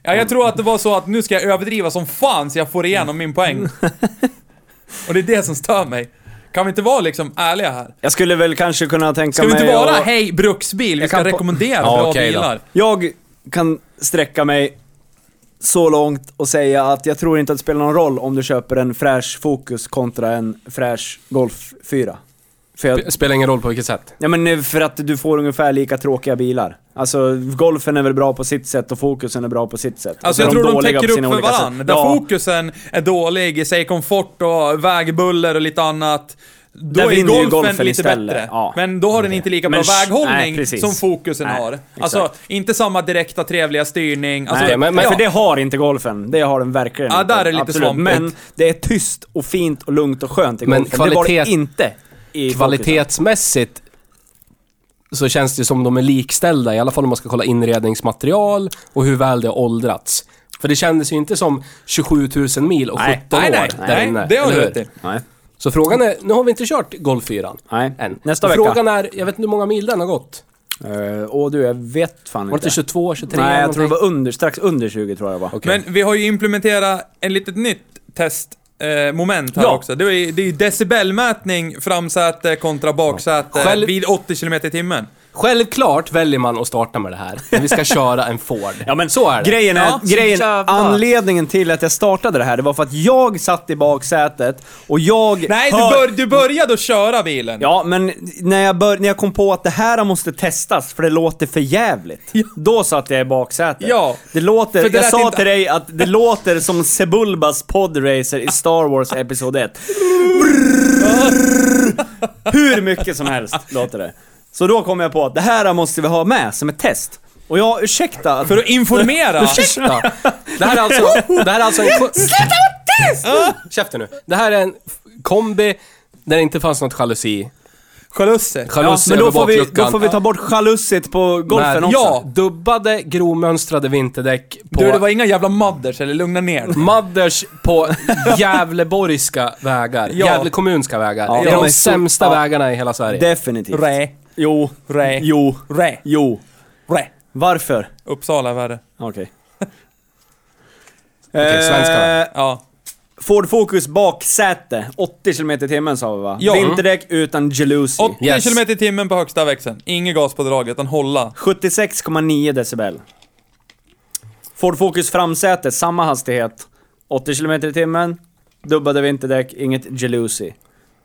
Ja, jag tror att det var så att nu ska jag överdriva som fan så jag får igenom min poäng. Och det är det som stör mig. Kan vi inte vara liksom ärliga här? Jag skulle väl kanske kunna tänka Ska vi inte mig vara att- hej bruksbil, vi Jag ska kan på- rekommendera Ja, bra okej då. bilar. Jag kan sträcka mig så långt och säga att jag tror inte att det spelar någon roll om du köper en fräsch Focus kontra en fräsch Golf 4. För jag, Sp- Spelar ingen roll på vilket sätt. ja men eh, för att du får ungefär lika tråkiga bilar. Alltså golfen är väl bra på sitt sätt och fokusen är bra på sitt sätt. Och så Alltså jag är tror de dåliga täcker på upp sina för olika varandra. sätt. Där Ja, fokusen är dålig, säg komfort och vägbuller och lite annat. Då Där är vinner ju golfen, golfen lite istället, bättre. ja. Men då har den inte lika bra Men sh- nej, väghållning precis. som fokusen Nej, har. exakt. Alltså, inte samma direkta trevliga styrning. Alltså, Nej, men- men, ja. för det har inte golfen. Det har den verkligen Ja, inte. där är det lite Absolut. svampigt. Men det är tyst och fint och lugnt och skönt i Men golfen. det var det kvalitet- inte i fokusen. Kvalitetsmässigt så känns det som de är likställda, i alla fall om man ska kolla inredningsmaterial och hur väl det har åldrats. För det kändes ju inte som 27 000 mil och 17 Nej, Nej, år nej, där nej, inne. det har eller du hur? rätt i. Nej. Så frågan är, nu har vi inte kört Golf 4 Nej. än. Nästa Och vecka. Frågan är, jag vet inte hur många mil den har gått. Eh, åh du, jag vet fan Var det inte. inte 22, 23? Nej, jag tror det någonting? var under, strax under 20 tror jag det var. Okej. Men vi har ju implementerat ett litet nytt testmoment eh, moment här Ja. också. Det är ju det är ju decibelmätning framsäte kontra baksäte Själv- vid 80 km i timmen. Självklart väljer man att starta med det här, när vi ska köra en Ford. Ja, men så är det. Grejen är, Ja, så grejen, jävla- anledningen till att jag startade det här, det var för att jag satt i baksätet och jag Nej, du, hör- bör, du började att köra bilen. Ja, men när jag, bör, när jag kom på att det här måste testas för det låter för jävligt. Då satt jag i baksätet. Ja. Det låter, För det jag lät sa inte- till dig att det låter som Sebulbas podracer i Star Wars Episod 1. Hur mycket som helst låter det. Så då kom jag på att det här måste vi ha med som ett test. Och jag, ursäkta att... För att informera. Ursäkta! Det här är alltså, det här är alltså en... Sluta vara tyst! Käften nu. Det här är en f- kombi där det inte fanns något jalusi. Jalusser. ja, Jalusi men då över får, vi, bakluckan. då får vi ta bort chalusset på golfen Med- också. Ja, dubbade gromönstrade vinterdäck på... Du, det var inga jävla modders, eller lugna ner dig. Mothers på Gävleborgska vägar. Ja. Gävle kommunska vägar. Ja, det är de de är så- sämsta ja. vägarna i hela Sverige. Definitivt. Rä, Jo. Rä. Jo. rä, Jo. rä. Varför? Uppsala var det. Okej. Okej, svenskarna. Eh, Ja. Ford Focus baksäte, 80 km i timmen sa vi va? Ja. Vinterdäck utan Jalousie. 80 Yes. km i timmen på högsta växeln. Inget gaspådrag, utan hålla. 76,9 decibel. Ford Focus framsäte, samma hastighet. 80 km i timmen, dubbade vinterdäck, inget Jalousie.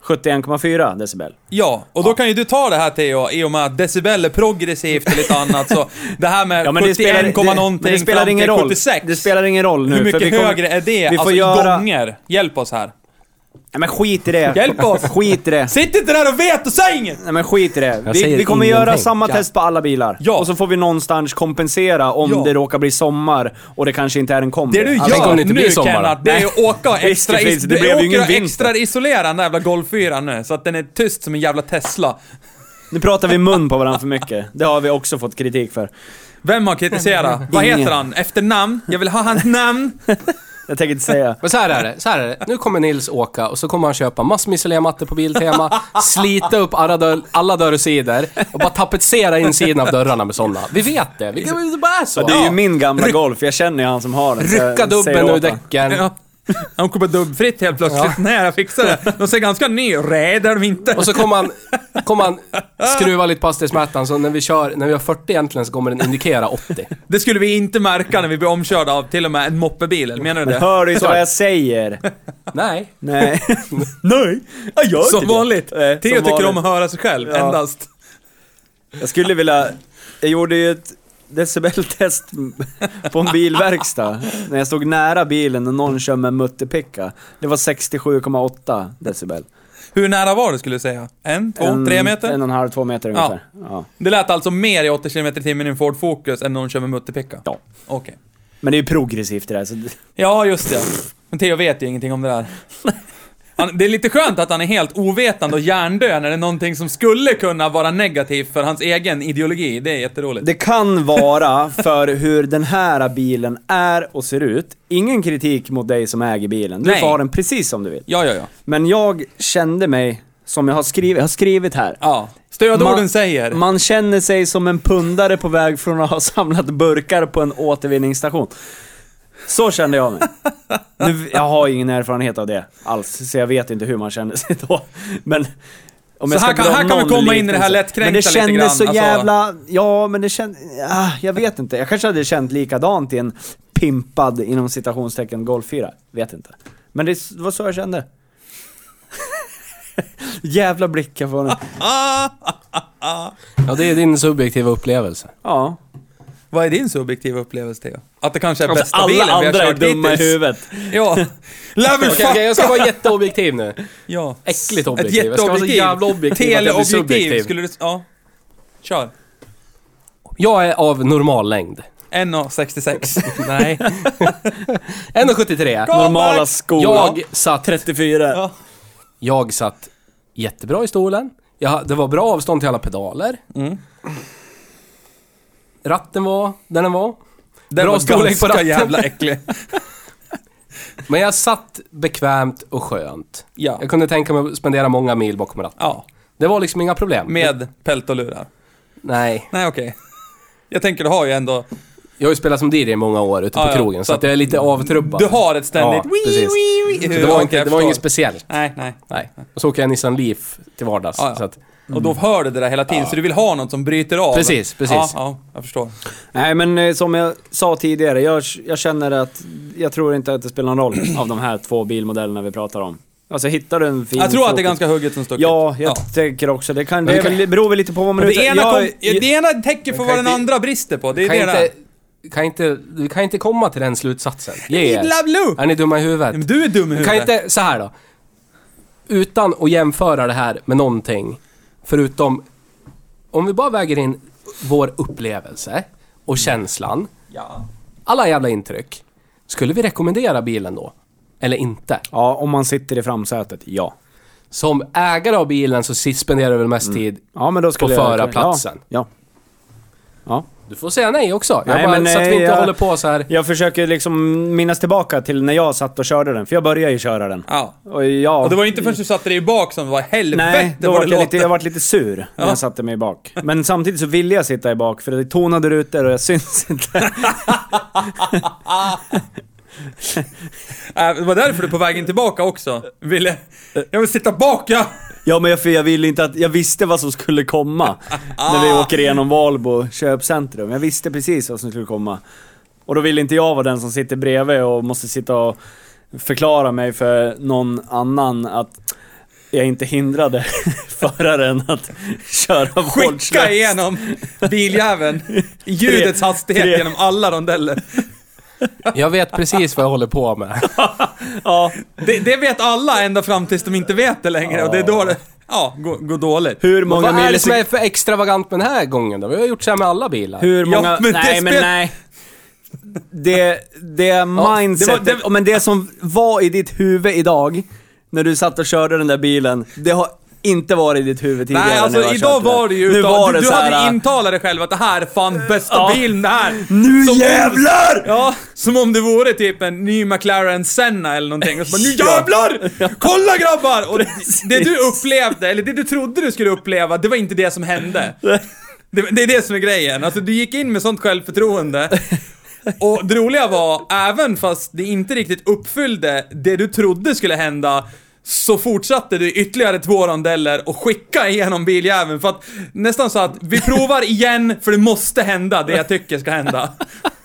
71,4 decibel. Ja, och då kan ju du ta det här Theo, i och med att decibel är progressivt och lite annat så det här med Ja, men det spelar, 71, det, någonting men det spelar fram ingen till roll. 76. Det spelar ingen roll nu. Hur mycket för vi kommer- högre är det? Vi får alltså göra... gånger. Hjälp oss här. Nej men skit i det. Hjälp oss. Skit i det. Sitt inte där och vet och säg inget! Nej men skit i det. Jag Vi, säger vi kommer ingenting. göra samma Ja. test på alla bilar. Ja. Och så får vi någonstans kompensera om Ja. det råkar bli sommar och det kanske inte är en kombi. Det du Alltså, tänk gör om det inte nu blir sommar. Kenneth, det är att åka och Visst, extra, det finns- is- det du blev ju åker ingen och vinter. extra isolera den där jävla golffyran nu, så att den är tyst som en jävla Tesla. Nu pratar vi mun på varandra för mycket. Det har vi också fått kritik för. Vem har kritiserat? Vad Ingen. heter han? Efternamn? Jag vill ha hans namn! Jag tänker inte säga. Men så här är det, så här är det. Nu kommer Nils åka och så kommer han köpa massor med isolermattor på Biltema, slita upp alla, dörr, alla dörrsidor och bara tapetsera insidan av dörrarna med sådana. Vi vet det, vi, det bara är så. Det är ju Ja. min gamla Golf, jag känner ju han som har den. så Rycka jag säger dubben åt ur han. däcken. Ja. Han kommer dubbfritt helt plötsligt. Nej, jag fixar det. De ser ganska ny Nej, det är de inte. Och så kommer han, kommer han skruva lite på hastighetsmätaren, så när vi kör, när vi har 40 egentligen så kommer den indikera 80. Det skulle vi inte märka när vi blir omkörda av till och med en moppebil, eller menar du det? Hör du inte vad jag säger? Nej. Nej. Nej, jag gör Som inte vanligt! det. Theo Eh, som tycker vanligt. om att höra sig själv, Ja. endast. Jag skulle vilja... Jag gjorde ju ett decibeltest på en bilverkstad. När jag stod nära bilen och någon kör med mutterpicka. Det var 67,8 decibel. Hur nära var du skulle du säga? En, två, tre meter? En och en halv, två meter Ja. ungefär. Ja. Det lät alltså mer i 80 km i timmen i en Ford Focus än någon kör med mutterpicka? Ja. Okej. Men det är ju progressivt det där. Så... Ja, just det. Men Theo vet ju ingenting om det där. Han, det är lite skönt att han är helt ovetande och hjärndöd när det är någonting som skulle kunna vara negativt för hans egen ideologi. Det är jätteroligt. Det kan vara för hur den här bilen är och ser ut. Ingen kritik mot dig som äger bilen. Du Nej. får ha den precis som du vill. Ja, ja, ja. Men jag kände mig, som jag har skrivit, jag har skrivit här. ja. Stödorden Man- säger. Man känner sig som en pundare på väg från att ha samlat burkar på en återvinningsstation. Så kände jag mig. Nu, jag har ingen erfarenhet av det alls, så jag vet inte hur man kände sig då. Men... Om Så här kan- dra här kan vi någon komma in i det här liknelse. lättkränkta Men det lite kändes grann, så alltså. jävla... Ja, men det kändes... Ah, jag vet inte. Jag kanske hade känt likadant i en pimpad, inom citationstecken, golffyra. Vet inte. Men det s- var så jag kände. Jävla blickar får ni. Ah, Ja, det är din subjektiva upplevelse. Ja. Vad är din subjektiva upplevelse Theo? Att det kanske är Alltså, bästa alla bilen vi har andra är kört dumma i hittills. huvudet. Ja. Lär väl Okej, okej, fuck! jag ska vara jätteobjektiv nu. Ja. Äckligt objektiv. Jag ska vara så jätteobjektiv. jävla objektiv att jag blir Teleobjektiv subjektiv. skulle du... s- Ja. Kör. Jag är av normal längd. 1,66. Nej. 1,73. Normala skor. Jag satt, 34. jag satt jättebra i stolen. Jag, det var bra avstånd till alla pedaler. Mm. Ratten var där den var. Den Bra var storlek ganska på ratten. jävla äcklig. Men jag satt bekvämt och skönt. Ja. Jag kunde tänka mig att spendera många mil bakom ratten. Ja. Det var liksom inga problem. Med pält och lurar. Nej. Nej, okej. Jag tänker, du har ju ändå... Jag har ju spelat som DJ i många år ute på Ja, ja. krogen, så Så att jag är lite avtrubbad. Du har ett ständigt... Ja, precis. wii, Så i det var, huvudet. inte, Jag det var förstår. inget speciellt. Nej, nej. Nej. Och så åker jag Nissan Leaf till vardags. Ja, ja. Så att, Och då hör du det där hela tiden, så du vill ha något som bryter av. Precis, precis. Ja, ja jag förstår. Nej men eh, som jag sa tidigare, jag, jag känner att jag tror inte att det spelar någon roll av de här två bilmodellerna vi pratar om. Alltså hittar du en fin... Jag tror att det är fokus- ganska hugget som stucket. Ja, jag Ja. tänker också det. Kan, Men det, du är kan- väl- det beror väl lite på vad man är Det ute ena, jag, kom, det ena täcker för kan vad den inte- andra brister på. Det är kan, det inte, där. kan inte... Du kan inte komma till den slutsatsen. Ge er. Idla blue! Är ni dumma i Nej, Men huvudet? du är dum i Du huvudet. kan inte... Så här då. Utan att jämföra det här med någonting, förutom... Om vi bara väger in vår upplevelse och känslan, Mm. Ja. alla jävla intryck. Skulle vi rekommendera bilen då? Eller inte? Ja, om man sitter i framsätet, ja. Som ägare av bilen så spenderar du väl Mm. mest tid Ja men då skulle På jag... förarplatsen. Ja. ja. Du får säga nej också. Jag Nej, bara, men så att vi nej, inte jag- håller på så här. ja. Jag försöker liksom minnas tillbaka till när jag satt och körde den, för jag började ju köra den. Ja. Och jag... Och det var ju inte förrän du satte dig bak som det var Nej, helvete då vad var det jag, låter. lite, jag varit lite sur när jag satte mig bak. Men samtidigt så ville jag sitta i bak för det tonade rutor och jag syns inte. Äh, Det var därför du på vägen tillbaka också ville... Eh. Jag vill sitta bak ja! Ja men jag, för jag ville inte att, jag visste vad som skulle komma. när vi åker igenom Valbo köpcentrum. Jag visste precis vad som skulle komma. Och då ville inte jag vara den som sitter bredvid och måste sitta och förklara mig för någon annan att jag inte hindrade föraren att köra vårdslöst. Skicka igenom biljäveln i ljudets hastighet tre. genom alla rondeller. Jag vet precis vad jag håller på med. Ja, Det, det vet alla ända fram tills de inte vet det längre och det är då det... Ja, går, går dåligt. hur Vad många är det millisek- som är för extravagant med den här gången då? Vi har gjort så här med alla bilar. Hur Ja, många... men det nej, men spel- nej. Det, det mindsetet, det var- det- men det som var i ditt huvud idag, när du satt och körde den där bilen, det har inte varit i ditt huvud tidigare Nej, när jag alltså har idag kört den. var det ju Nu utav, var du, det du så här, hade intalat dig själv att det här är fan bästa Ja. bilen det här. Nu Som- jävlar! Ja, som om det vore typ en ny McLaren Senna eller någonting. Och så bara, nu Ja. jävlar! Kolla grabbar! Och det du upplevde, eller det du trodde du skulle uppleva, det var inte det som hände. Det, det är det som är grejen. Alltså du gick in med sånt självförtroende. Och det roliga var, även fast det inte riktigt uppfyllde det du trodde skulle hända, så fortsatte du ytterligare två rondeller och skicka igenom biljäveln för att nästan så att vi provar igen för det måste hända det jag tycker ska hända.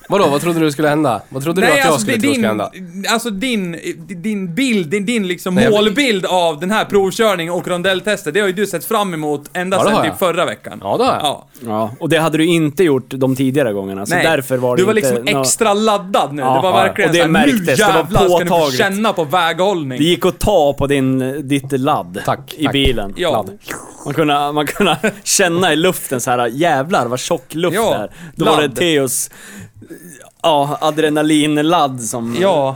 Vadå, vad trodde du skulle hända? Vad trodde du att jag skulle alltså, det är tro skulle hända? din, alltså din, din bild, din, din liksom Nej, jag- målbild av den här provkörningen och rondelltestet, det har ju du sett fram emot ända Ja, det sedan har typ jag. förra veckan. Ja, det har jag. Ja, och det hade du inte gjort de tidigare gångerna, så Nej, därför var det du var inte... liksom nå- extra laddad nu. Ja, det var ja, verkligen och det såhär, märktes. nu Det var jävlar ska ni få påtagligt. känna på väghållning. Det gick att ta på din, ditt ladd Tack, i tack. bilen. Ja. Ladd. Man kunde, man kunde känna i luften så här jävlar vad tjock luft Ja, det är. Då var ladd. det Theos ja, adrenalinladd som Ja,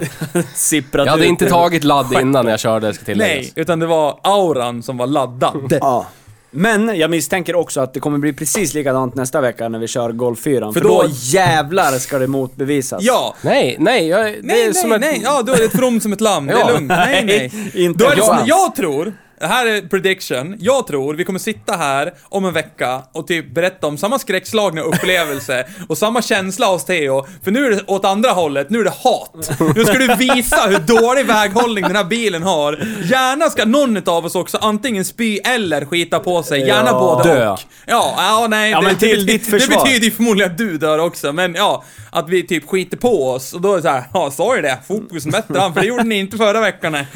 sipprade Jag hade ut inte ur- tagit ladd innan jag körde, ska nej. tilläggas. Utan det var auran som var laddad. Ja. Men jag misstänker också att det kommer bli precis likadant nästa vecka när vi kör Golf 4. För, För då- då jävlar ska det motbevisas. Ja. Nej, nej, jag, det Nej, är nej, som ett- nej. Ja, då är det ett from som ett lamm. Det Ja. är lugnt. Nej, nej. Inte Då är det en som, chans. jag tror, det här är prediction, jag tror vi kommer sitta här om en vecka och typ berätta om samma skräckslagna upplevelse och samma känsla hos Theo. För nu är det åt andra hållet, nu är det hat. Nu ska du visa hur dålig väghållning den här bilen har. Gärna ska någon av oss också antingen spy eller skita på sig, gärna Ja. båda Dö. och. Ja, ja, nej. Ja, men till ditt det försvar. betyder ju förmodligen att du dör också, men ja, att vi typ skiter på oss och då är det så här, ja, sa ju det, fokus mätte han, för det gjorde ni inte förra veckan. nej."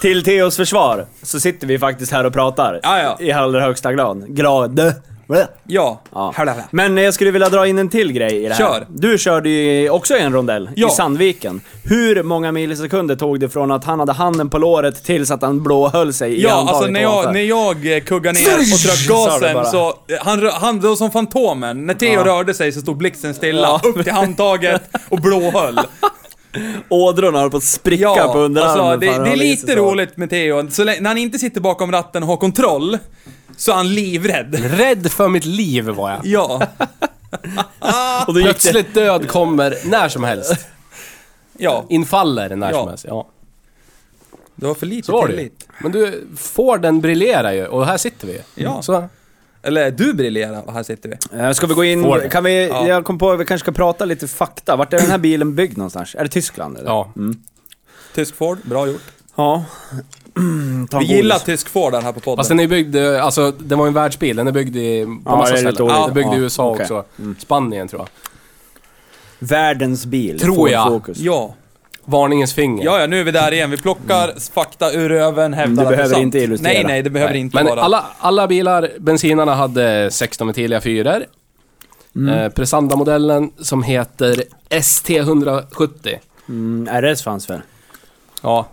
Till Theos försvar så sitter vi faktiskt här och pratar. Ja, ja. I allra högsta grad. Grad. Blä. Ja. Ja. Halala. Men jag skulle vilja dra in en till grej i det här. Kör. Du körde ju också i en rondell Ja. i Sandviken. Hur många millisekunder tog det från att han hade handen på låret tills att han blåhöll sig i Ja, handtaget alltså när ovanför? jag, när jag eh, kuggade ner och Sa drog du bara. gasen så... eh, Han, rö- han det var som Fantomen. När Theo rörde sig så stod blixten stilla, upp till handtaget och blåhöll. Ådrorna höll på att spricka Ja, på underarmen. alltså, för det, han det är höll i lite sig så. roligt med Theo. Så lä- när han inte sitter bakom ratten och har kontroll, så är han livrädd. Rädd för mitt liv var jag. Ja, Och då gick det... Plötsligt död kommer när som helst. ja. Infaller när Ja. som helst. Ja. Det var för lite Så var det ju. tillit. Men du, Forden briljerar ju och här sitter vi. Ja. Så, Eller du briljerar och här sitter vi. Eh, Ska vi gå Får in... det. Kan vi... Ja. Jag kom på att vi kanske ska prata lite fakta. Vart är den här bilen byggd någonstans? Är det Tyskland eller? ja. Tysk Ford, bra gjort. Ja. Ta en Vi gillar godis. tysk Ford här på podden. Fast den är byggd, eh, alltså den var ju en världsbil. Den är byggd i, på Ja, det massa är ställen. lite olika. Den är byggd i Ja, USA okej. Mm. också. Spanien tror jag. Världens bil. Tror Ford jag. Focus. Ja. Varningens finger. ja, ja, nu är vi där igen. Vi plockar fakta ur röven, hävdar Mm, det att det är behöver sant. inte illustrera. Nej, nej, det behöver Nej. inte Men vara. alla, alla bilar, bensinarna hade 16 ventilia fyror. Mm. Eh, Presanda-modellen som heter ST170. Mm, RS fanns väl? Ja.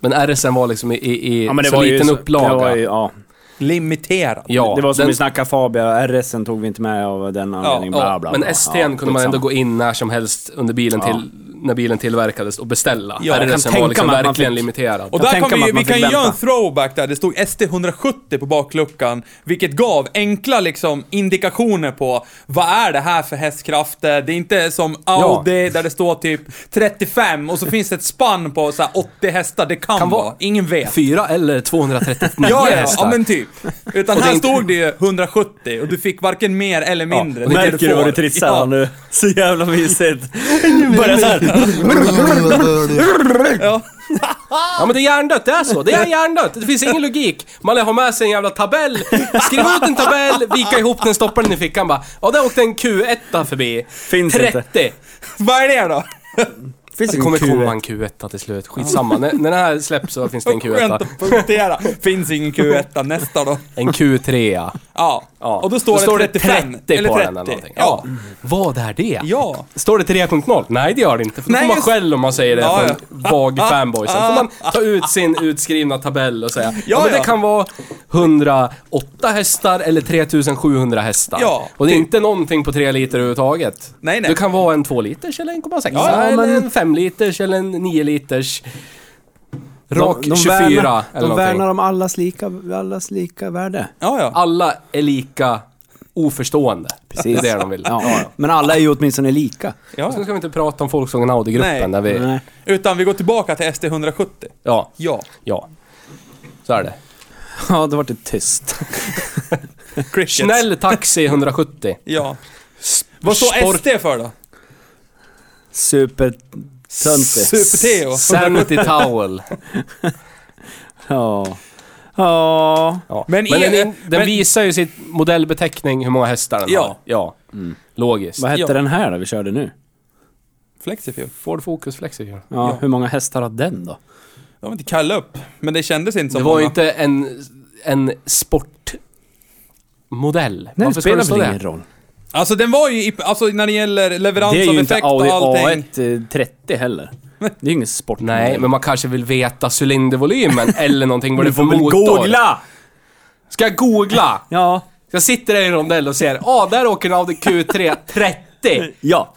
Men RSen var liksom i, i, i så ju liten så- upplaga. Det var ju, ja. Limiterad. ja, det var som den- vi snackade Fabia, RSen tog vi inte med av den anledningen. bla, bla, bla, men bla. ST'n Ja, kunde man skitsamma. ändå gå in när som helst under bilen Ja. till, när bilen tillverkades och beställa. Ja, Ja, jag kan RSen tänka var liksom mig att man verkligen fick- limiterad. Och Jag där tänker kan vi, mig ju- att vi man kan ju fick göra en vänta. throwback där. Det stod ST170 på bakluckan, vilket gav enkla liksom indikationer på vad är det här för hästkrafter. Det är inte som Audi där det står typ 35 och så finns det ett spann på så här 80 hästar. Det kan, Kan vara. vara. Ingen vet. Fyra eller 239 Ja, ja, hästar. ja, men typ. Utan Och det är här inte- stod det ju 170 och du fick varken mer eller Ja, mindre. Det är det märker du vad du får. trissar Ja. nu? Så jävla mysigt. Börjar såhär. Ja. Ja men det är hjärndött, det är så. Det är hjärndött. Det finns ingen logik. Man har med sig en jävla tabell, skriva ut en tabell, vika ihop den, stoppa den i fickan bara. Ja, där åkte en Q1 förbi. Finns 30. inte. Vad är det då? Finns Det kommer komma en Q1 till slut. Skitsamma. När, när den här släpps så finns det en Skönt Q1. att punktera. Finns ingen Q1 nästa då. En Q3. Ja. Ja. och då står, det 35 30 eller på 30. den eller någonting. Ja. Ja. Vad är det? Ja. Står det 3.0? Nej det gör det inte. För då Nej, får man just- skäll om man säger det Ja, från ja. Ah, vag fanboy. Sen får man ta ut sin utskrivna tabell och säga. Ja, Ja, men det ja. kan vara 108 hästar eller 3700 hästar. Ja, och det är typ. inte någonting på 3 liter överhuvudtaget. Nej, nej. Det kan vara en 2 liters eller 1,6 Ja, eller men- en 5 liters eller en 9 liters. Rak 24 värnar, eller De någonting. värnar om allas lika, allas lika värde. Ja, ja. Alla är lika oförstående. Precis. Det är det de vill. Ja. Men alla är ju åtminstone lika. ja. Sen ska vi inte prata om Volkswagen Audi-gruppen Nej. där vi... Nej. Utan vi går tillbaka till ST170. Ja, Ja. ja. Så är det. Ja, då vart det tyst. Crickets. Snäll taxi 170. Ja. Vad står Sport- ST för då? Supertöntig. Super-Theo. Sanity towel. Ja. Ja. Ja. Men Men, är- den, den men- visar ju sitt modellbeteckning, hur många hästar den Ja. har. Ja. Logiskt. Vad hette Ja. den här då vi körde nu? Flexifuel. Ford Focus Flexicon. Ja, Ja. Hur många hästar har den då? De var inte kalla upp. Men det kändes inte som Det var ju många. inte en, en sportmodell. Nej, Varför det ska spelar det stå väl ingen det? roll? Alltså den var ju i, Alltså när det gäller leverans Det är av ju inte effekt Audi och allting. A1 eh, 30 heller. Det är ju ingen sport. Nej, men man kanske vill veta cylindervolymen eller någonting vad det är för motor. googla! Ska jag googla? Ja. Jag sitter där i en rondell och ser, ah, där åker en Audi Q3 30. Ja.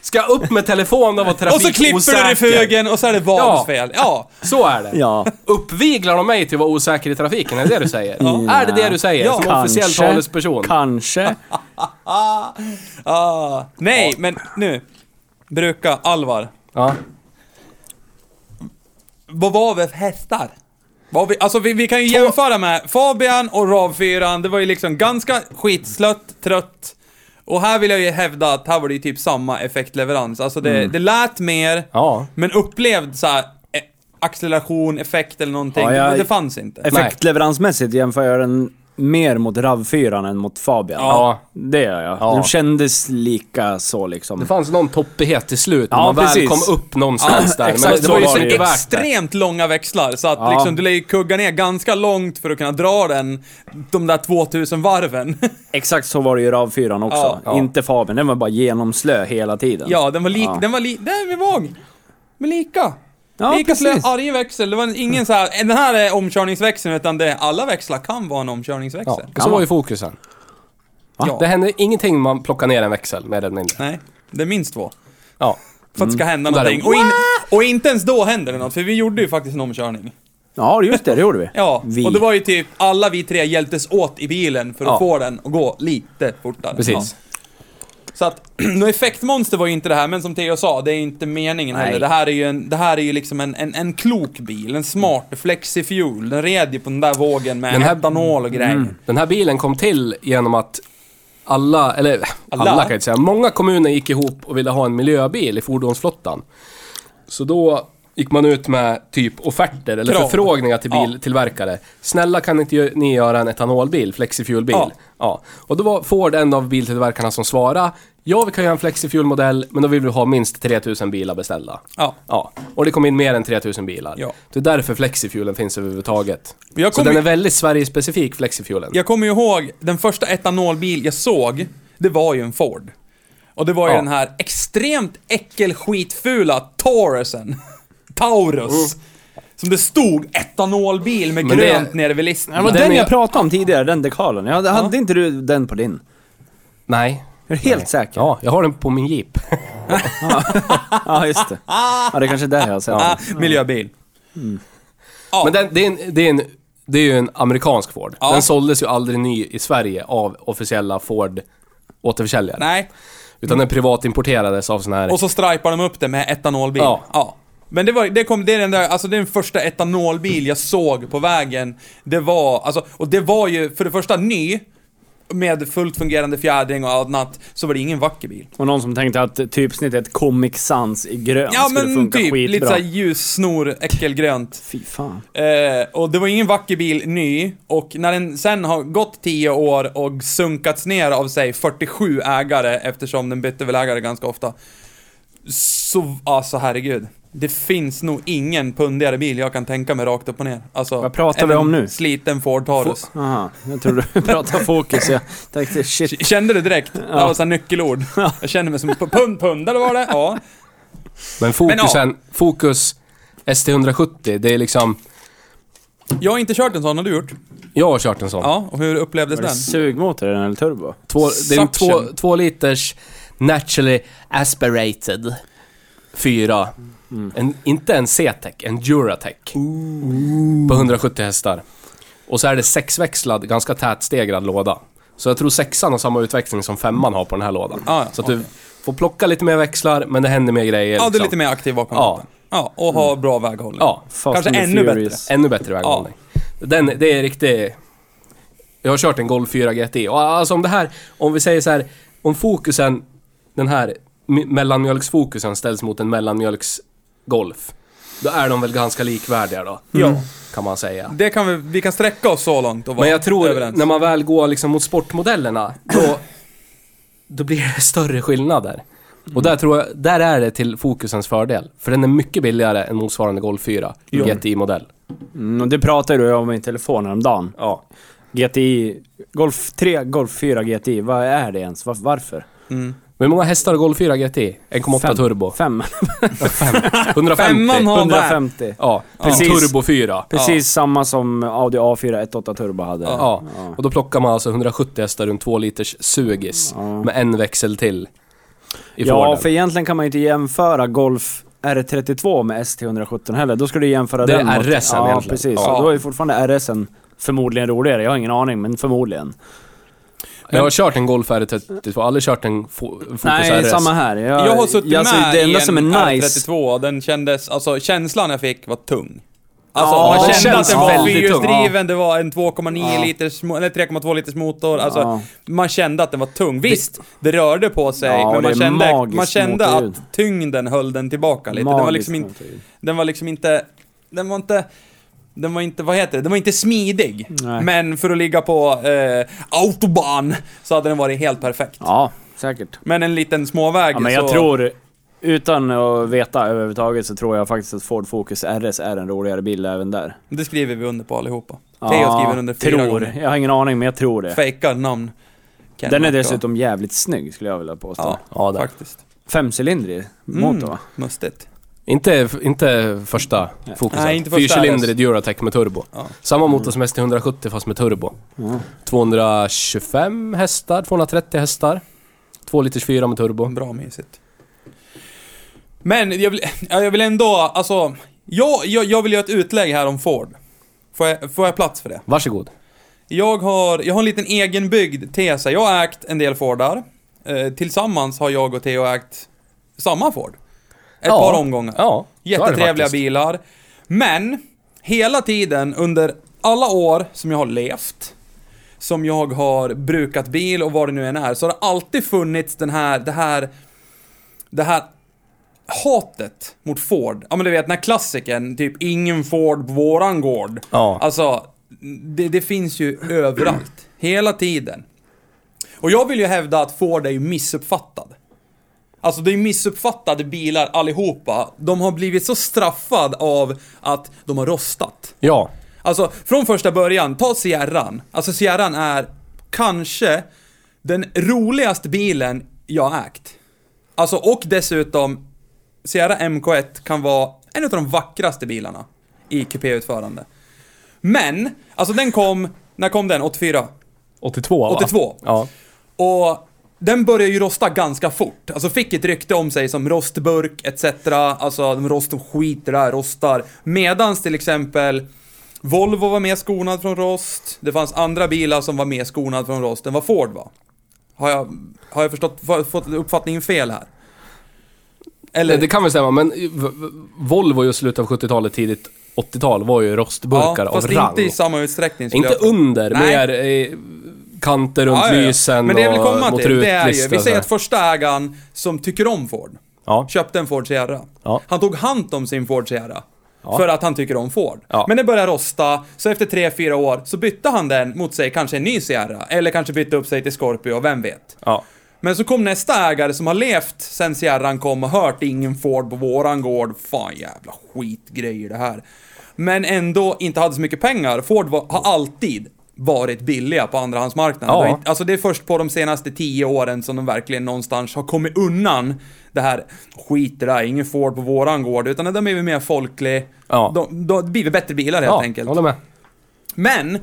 Ska jag upp med telefonen och Och så trafikosäker? klipper du det i fugen och så är det Vans fel. Ja. Så är det. Ja. Uppviglar de mig till att vara osäker i trafiken? Är det det du säger? Är det det du säger? Ja. Som Kanske. officiell talesperson? Kanske. Ah. Nej, men nu. Bruka Alvar. Ja. Vad var vi för hästar? Vad vi, alltså vi, vi kan ju jämföra med Fabian och RAV4, det var ju liksom ganska skitslött, trött. Och här vill jag ju hävda att här var det ju typ samma effektleverans. Alltså det, det lät mer, Ja. men upplevd så här eh, acceleration, effekt eller någonting, Ja, jag- det, det fanns inte. Effektleveransmässigt jämför jag den mer mot RAV4 än mot Fabian. Ja. Det gör jag. Ja. De kändes lika så liksom. Det fanns någon toppighet till slut när Ja, man precis. väl kom upp någonstans där. exakt Men det var ju så så var det ju. inte värt det. extremt långa växlar, så att Ja. liksom, du lägger kugga ner ganska långt för att kunna dra den, de där 2000 varven. Exakt så var det ju i RAV4 också. Ja, ja. Inte Fabian, den var bara genomslö hela tiden. ja, den var lik, Ja. den var lik, den var vag. Men lika. Ja, lika precis. slö, arg växel. Det var ingen så här, eh, den här är omkörningsväxeln, utan det, alla växlar kan vara en Ja, omkörningsväxel. så var ju fokusen. Ja. Det händer ingenting man plockar ner en växel med den mindre. Nej, det är minst två. Ja. För att det ska hända Där är- någonting. Och, in, och inte ens då händer det något, för vi gjorde ju faktiskt en omkörning. Ja, just det, det gjorde vi. Ja, vi. och det var ju typ alla vi tre hjälptes åt i bilen för att Ja. få den att gå lite fortare. Precis. Ja. Så att, nå effektmonster var ju inte det här, men som Theo sa, det är inte meningen Nej. heller. Det här är ju, en, det här är ju liksom en, en, en klok bil, en smart flexifuel. Den red ju på den där vågen med Den här- mm. etanol och grejer. Den här bilen kom till genom att alla, eller alla, Alla? kan jag inte säga, många kommuner gick ihop och ville ha en miljöbil i fordonsflottan. Så då gick man ut med typ offerter eller Krav. förfrågningar till biltillverkare. Snälla kan inte gö- ni göra en etanolbil, flexifuelbil? Ja. Ja. Och då var Ford en av biltillverkarna som svarade, ja vi kan göra en flexifuelmodell, men då vill vi ha minst 3000 bilar beställda. Ja. Ja, och det kom in mer än 3000 bilar. Ja. Det är därför flexifuelen finns överhuvudtaget. Jag Så kommer- den är väldigt Sverige-specifik, flexifuelen. Jag kommer ju ihåg, den första etanolbil jag såg, det var ju en Ford. Och det var ju Ja. den här extremt äckelskitfula Taurusen. Taurus. Som det stod etanolbil med Mm. Men det- grönt nere vid listen. Ja, det var Den den, är- jag pratade om tidigare, den dekalen. Jag hade, hade inte du den på din? Nej. Jag är helt säker. Ja, jag har den på min jeep. Ja, just det. Ja, det är kanske är där jag har sett Ah, den. miljöbil. Men den, det, är en, det, är en, det är ju en amerikansk Ford. Ja. Den såldes ju aldrig ny i Sverige av officiella Ford återförsäljare. Nej, Utan den privatimporterades av sån här... och så stripar de upp det med etanolbil. Ja. Men det var, det kom, det är den där, alltså det är den första etanolbil jag såg på vägen. Det var, alltså, och det var ju för det första ny. Med fullt fungerande fjädring och annat, så var det ingen vacker bil. Och någon som tänkte att typsnittet Comic Sans i grönt Ja skulle men funka typ, lite skitbra. såhär ljussnor, äckelgrönt. Fy fan. Eh, och det var ingen vacker bil ny, och när den sen har gått 10 år och sunkats ner av sig 47 ägare, eftersom den bytte väl ägare ganska ofta. Så, alltså herregud. Det finns nog ingen pundigare bil jag kan tänka mig rakt upp och ner. Alltså, Vad pratar vi en om nu? Sliten Ford Taurus. Aha, jag trodde du pratade fokus. Jag tänkte shit. K- Kände du direkt? Det var såhär nyckelord. Jag kände mig som p- pund, pundare var det, ja. Men fokusen, fokus ST170, det är liksom... Jag har inte kört en sån, har du gjort? Jag har kört en sån. Ja, och hur upplevdes den? Sugmotor i den eller turbo? Två, det är en två, Suction. två liters naturally aspirated fyra. Mm. En, inte en C-tech, en Duratec. På 170 hästar. Och så är det sexväxlad, ganska tätstegrad låda. Så jag tror sexan har samma utväxling som femman har på den här lådan. Ah, ja, så att du får plocka lite mer växlar, men det händer mer grejer. Ja, du är liksom. lite mer aktiv bakom Ja. Mm. ratten. Ja, och ha bra väghållning. Ja, Fast Kanske and the ännu Furious. bättre. ännu bättre väghållning. Den, det är riktigt... Jag har kört en Golf 4 GTI och alltså om det här, om vi säger så här, om fokusen, den här m- mellanmjölksfokusen ställs mot en mellanmjölksgolf. Då är de väl ganska likvärdiga då, Ja. kan man säga. Det kan vi, vi kan sträcka oss så långt och vara Men jag tror, överens. när man väl går liksom mot sportmodellerna, då, då blir det större skillnader. Och där tror jag, där är det till fokusens fördel. För den är mycket billigare än motsvarande Golf 4 GTI-modell. Mm, och det pratade du om i telefon häromdagen. Ja. GTI, Golf 3, Golf 4 GTI, vad är det ens? Var, varför? Hur många hästar har Golf 4 GTI? 1,8 Fem. turbo. Fem. 150. Femman har- 150. Ja, Precis. precis. Turbo 4. Ja. Precis samma som Audi A4 1.8 Turbo hade. Ja. och då plockar man alltså 170 hästar runt 2 liters sugis med en växel till. I Ja, Forden. för egentligen kan man ju inte jämföra Golf R32 med ST117 heller. Då ska du jämföra Det är den mot- RSen Ja, egentligen. precis. Ja. Och Då är ju fortfarande RSen förmodligen roligare. Jag har ingen aning, men förmodligen. Jag har kört en Golf R32, jag har aldrig kört en Fo- Focus Nej, RS. samma här. Jag, jag har suttit jag- alltså, med det enda i en som är nice... R32, den kändes, alltså känslan jag fick var tung. Alltså Ja, man den kände känns att den var väldigt fyrhjulsdriven, det var en 2,9 liters, mo- eller 3,2 liters motor, alltså Ja. man kände att den var tung. Visst, det rörde på sig, Ja, men det man är kände, magiskt man kände motorljud. att tyngden höll den tillbaka lite. Den var, Magiskt liksom in, motorljud. den var liksom inte, den var inte Den var inte, vad heter det? Den var inte smidig. Nej. Men för att ligga på eh, autobahn så hade den varit helt perfekt. Ja, säkert. Men en liten småväg Ja, men jag så... tror, utan att veta överhuvudtaget, så tror jag faktiskt att Ford Focus RS är en roligare bil även där. Det skriver vi under på allihopa. Theo skriver under fyra tror. gånger. Jag har ingen aning, men jag tror det. Fejkar namn. Ken Den är Macka. dessutom jävligt snygg skulle jag vilja påstå. Ja, Mm. Ja, det. faktiskt. Femcylindrig motor va? Mustigt. Inte, inte första fokuset. Nej, inte första Fyrcylindrig Duratec med turbo. Ja. Samma motor som ST170 fast med turbo. 225 hästar, 230 hästar. 2 liters fyra med turbo. Bra mysigt. Men jag vill, ja, jag vill ändå, alltså... Jag, jag, jag vill göra ett utlägg här om Ford. Får jag, får jag plats för det? Varsågod. Jag har, jag har en liten egenbyggd tes här. Jag har ägt en del Fordar. Eh, tillsammans har jag och Theo ägt samma Ford. Ett Ja. par omgångar. Ja, så är det Jättetrevliga faktiskt. bilar. Men, hela tiden under alla år som jag har levt, som jag har brukat bil och vad det nu än är, så har det alltid funnits den här, det här, det här hatet mot Ford. Ja men du vet den här klassikern, typ ingen Ford på våran gård. Ja. Alltså, det, det finns ju överallt. Hela tiden. Och jag vill ju hävda att Ford är ju missuppfattad. Alltså det är ju missuppfattade bilar allihopa. De har blivit så straffad av att de har rostat. Ja. Alltså från första början, ta Sierran. Alltså Sierran är kanske den roligaste bilen jag har ägt. Alltså och dessutom, Sierra MK1 kan vara en av de vackraste bilarna i kupéutförande. Men, alltså den kom, när kom den? 84? 82 va? 82. Ja. Och den börjar ju rosta ganska fort. Alltså fick ett rykte om sig som rostburk etc. Alltså de rost, de skiter där, rostar. Medans till exempel Volvo var mer skonad från rost. Det fanns andra bilar som var mer skonad från rost än vad Ford var. Har jag, har jag förstått, har jag fått uppfattningen fel här? Eller? Nej, det kan väl stämma, men v- v- Volvo i slutet av 70-talet, tidigt 80-tal var ju rostburkar ja, av fast rang. inte i samma utsträckning skulle Inte jag tro. under, Nej. mer eh, kanter runt Ja, ja, ja. lysen Men det jag vill komma och mot till, det är ju, rutlista vi och säger sådär. att första ägaren som tycker om Ford, Ja. köpte en Ford Sierra. Ja. Han tog hand om sin Ford Sierra. För att han tycker om Ford. Ja. Men det började rosta, så efter 3-4 år så bytte han den mot sig kanske en ny Sierra. Eller kanske bytte upp sig till Scorpio, vem vet. Ja. Men så kom nästa ägare som har levt sen Sierran kom och hört ingen Ford på våran gård. Fan jävla skitgrejer det här. Men ändå inte hade så mycket pengar. Ford var, har alltid varit billiga på andrahandsmarknaden. Ja. Det har inte- Alltså det är först på de senaste tio åren som de verkligen någonstans har kommit undan det här skit det där, ingen Ford på våran gård. Utan de är ju mer folklig. Ja. De, de, det blir väl bättre bilar helt ja, enkelt. håller med. Men,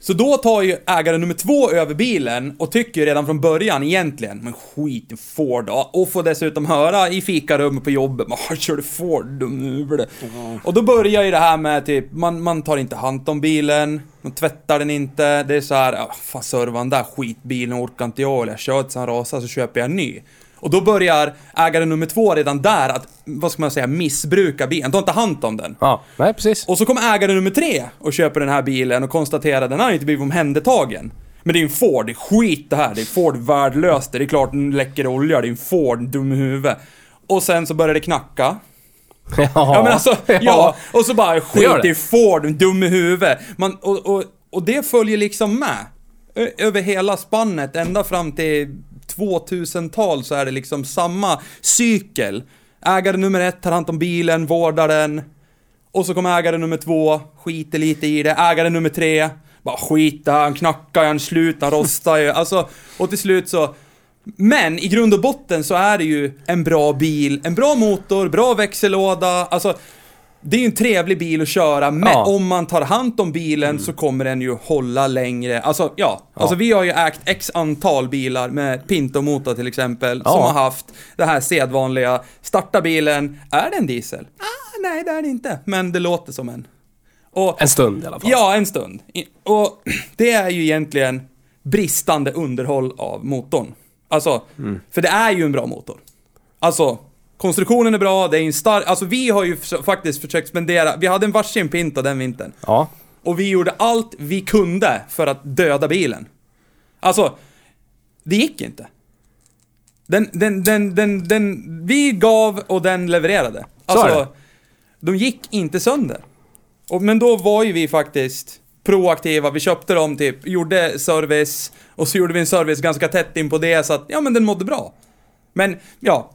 så då tar ju ägare nummer två över bilen och tycker ju redan från början egentligen, men skit i Ford då. Och får dessutom höra i fikarummet på jobbet, man kör du Ford dum huvud?" Och då börjar ju det här med typ, man, man tar inte hand om bilen, man tvättar den inte. Det är så här, "Ah, fan servan där skitbilen orkar inte jag, eller jag kör tills han rasar så köper jag en ny. Och då börjar ägare nummer två redan där att, vad ska man säga, missbruka bilen, ta inte hand om den. Ja, nej precis. Och så kom ägare nummer tre och köper den här bilen och konstaterar att den har inte blivit omhändertagen. Men det är en Ford, det är skit det här. Det är Ford värdelöst. Det är klart den läcker olja. Det är en Ford, dum i huvudet. Och sen så börjar det knacka. Ja, Ja, men alltså, ja. Och så bara gör skit det. i Ford, dum i huvudet. Man, och, och, och det följer liksom med. Ö- Över hela spannet, ända fram till 2000-tal så är det liksom samma cykel. Ägare nummer ett tar hand om bilen, vårdar den. Och så kommer ägare nummer två, skiter lite i det. Ägare nummer tre, bara skita, han knackar, han slutar, han rostar ju. Alltså, och till slut så... Men i grund och botten så är det ju en bra bil, en bra motor, bra växellåda. Alltså, det är ju en trevlig bil att köra, men Ja. om man tar hand om bilen så kommer den ju hålla längre. Alltså, ja. Alltså, vi har ju ägt x antal bilar med Pinto-motor till exempel, som Ja. har haft det här sedvanliga, starta bilen, är det en diesel? Ah, nej, det är det inte, men det låter som en. Och, En stund i alla fall. Ja, en stund. I- Och det är ju egentligen bristande underhåll av motorn. Alltså, Mm. för det är ju en bra motor. Alltså, konstruktionen är bra, det är en stark... Alltså vi har ju förs- faktiskt försökt spendera... Vi hade en varsin Pinto den vintern. Ja. Och vi gjorde allt vi kunde för att döda bilen. Alltså, det gick inte. Den, den, den, den, den, vi gav och den levererade. Så är Alltså, det. de gick inte sönder. Och, men då var ju vi faktiskt proaktiva. Vi köpte dem typ, gjorde service och så gjorde vi en service ganska tätt in på det så att, ja men den mådde bra. Men, ja,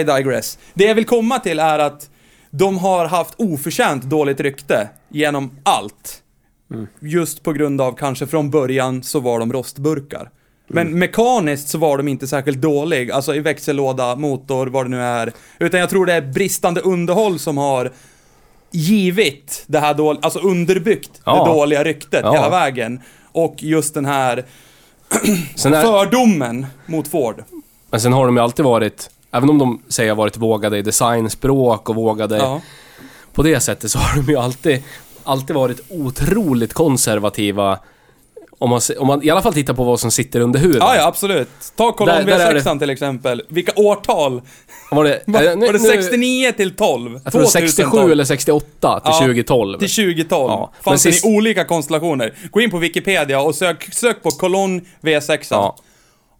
I digress. Det jag vill komma till är att de har haft oförtjänt dåligt rykte genom allt. Just på grund av kanske från början så var de rostburkar. Men Mm. mekaniskt så var de inte särskilt dålig, alltså i växellåda, motor, vad det nu är. Utan jag tror det är bristande underhåll som har givit det här dåliga, alltså underbyggt Ja. det dåliga ryktet Ja. hela vägen. Och just den här Sen är, fördomen mot Ford. Men sen har de ju alltid varit, även om de säger har varit vågade i designspråk och vågade Ja. på det sättet så har de ju alltid, alltid varit otroligt konservativa. Om man, se- om man i alla fall tittar på vad som sitter under huven. ja, ja absolut. Ta Colombia Där- där är det. 6 till exempel. Vilka årtal? Var det, Va- eh, nu- Var det nu- 69 till 12? Jag tror det är 67 eller 68 till Ja, 2012. Till 2012. Ja, men Fanns sist- den i olika konstellationer. Gå in på Wikipedia och sök, sök på kolonn V6. Ja.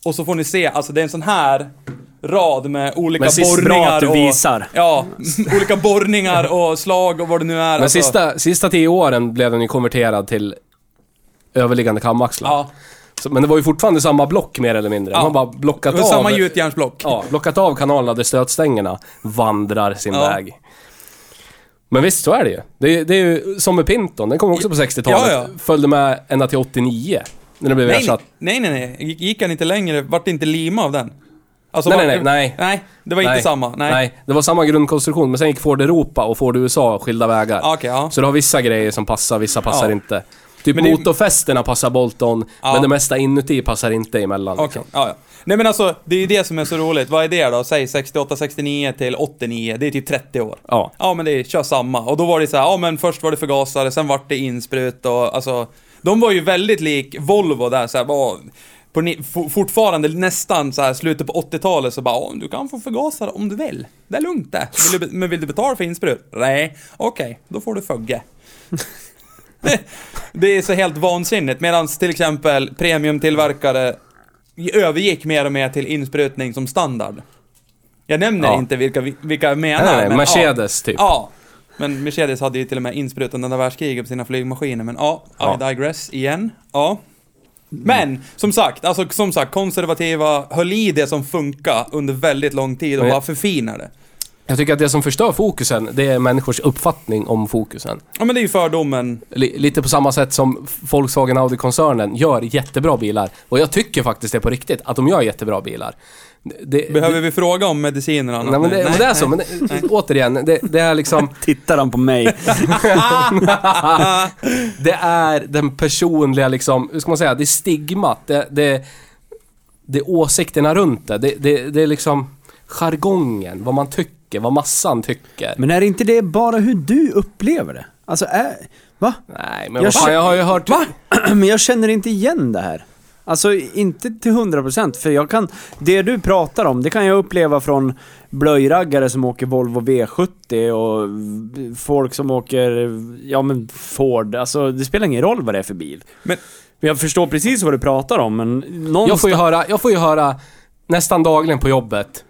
Och så får ni se, alltså det är en sån här rad med olika Men sist bra borrningar att du och... visar. Ja, olika borrningar och slag och vad det nu är. Men alltså. sista, sista tio åren blev den ju konverterad till överliggande kamaxlar. Ja, Så, men det var ju fortfarande samma block mer eller mindre. Ja. Man bara blockat det var av... samma gjutjärnsblock. Ja, blockat av kanalerna där stötstängerna vandrar sin Ja. väg. Men visst, så är det ju. Det, är- det är ju som med Pinton, den kom också på 60-talet. Ja, ja. Följde med ända till 89. När den blev Nej, ersatt. nej, nej, nej. Gick- Gick han inte längre? Vart det inte lima av den? Alltså, Nej, vart- nej, nej, nej. Nej, det var inte samma. Nej. det var samma grundkonstruktion, men sen gick Ford Europa och Ford USA skilda vägar. Ah, okej, ja. Så du har vissa grejer som passar, vissa passar Ja. inte. Typ Men det- motorfästena passar Bolton, Ja. men det mesta inuti passar inte emellan. Okej, liksom. ja, ja. Nej men alltså, det är ju det som är så roligt. Vad är det då? Säg 68, 69 till 89. Det är typ 30 år. Ja. Ja men det är, kör samma. Och då var det så här, ja men först var det förgasare, sen vart det insprut och alltså. De var ju väldigt lik Volvo där så här, var, på, ni- for- fortfarande nästan så här slutet på 80-talet så bara, ja du kan få förgasare om du vill. Det är lugnt det. Vill du, be- men vill du betala för insprut? Nej. Okej, då får du fugge. det är så helt vansinnigt. Medan till exempel premiumtillverkare övergick mer och mer till insprutning som standard. Jag nämner Ja. inte vilka, vi- vilka jag menar. Nej, nej, nej, men Mercedes, ja. typ. Ja. Men Mercedes hade ju till och med insprutande andra världskriget på sina flygmaskiner. Men ja, Ja. I digress igen. Ja. Men som sagt, alltså som sagt, konservativa höll i det som funkar under väldigt lång tid och Men- bara förfinade. Jag tycker att det som förstör fokusen, det är människors uppfattning om fokusen. Ja men det är ju fördomen. Li- Lite på samma sätt som Volkswagen Audi-koncernen gör jättebra bilar. Och jag tycker faktiskt det på riktigt, att de gör jättebra bilar. Det, Behöver vi fråga om mediciner och det, nej, annat men nu? det, det är så, men det, återigen, det, det är liksom... Tittar han på mig? det är den personliga liksom, hur ska man säga, det är stigmat, det, det, det är åsikterna runt det. Det, det, det är liksom jargongen, vad man tycker, vad massan tycker. Men är inte det bara hur du upplever det? Alltså, är, va? Nej, men Jag vad fan, känner- jag har ju hört... Va? Men jag känner inte igen det här. Alltså inte till 100% för jag kan, det du pratar om det kan jag uppleva från blöjraggare som åker Volvo V70 och v- folk som åker, ja men Ford, alltså det spelar ingen roll vad det är för bil. Men- Men jag förstår precis vad du pratar om men någonstans... Jag får ju höra, jag får ju höra nästan dagligen på jobbet.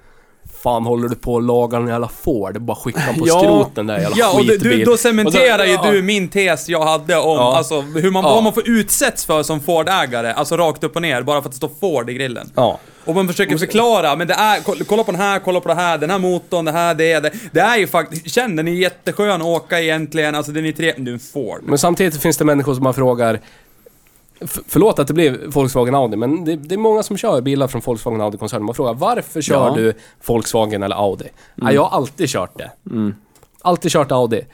Fan håller du på att laga en jävla Ford? Bara skicka den på Ja. skroten där jävla Ja, och du, skitbil. du, då cementerar ju Och då- du min tes jag hade om Ja. alltså, hur man, Ja. vad man får utsätts för som Ford-ägare. Alltså rakt upp och ner, bara för att det står Ford i grillen. Ja. Och man försöker förklara, men det är, kolla- kolla på den här, kolla på det här, den här motorn, det här, det, det. Det är ju faktiskt, känn den är jätteskön att åka egentligen, alltså den är tre... Du är en Ford. Men samtidigt finns det människor som man frågar f- Förlåt att det blev Volkswagen Audi, men det, det är många som kör bilar från Volkswagen Audi-koncernen. Man frågar varför kör Ja. du Volkswagen eller Audi? Mm. Ja, jag har alltid kört det. Alltid kört Audi.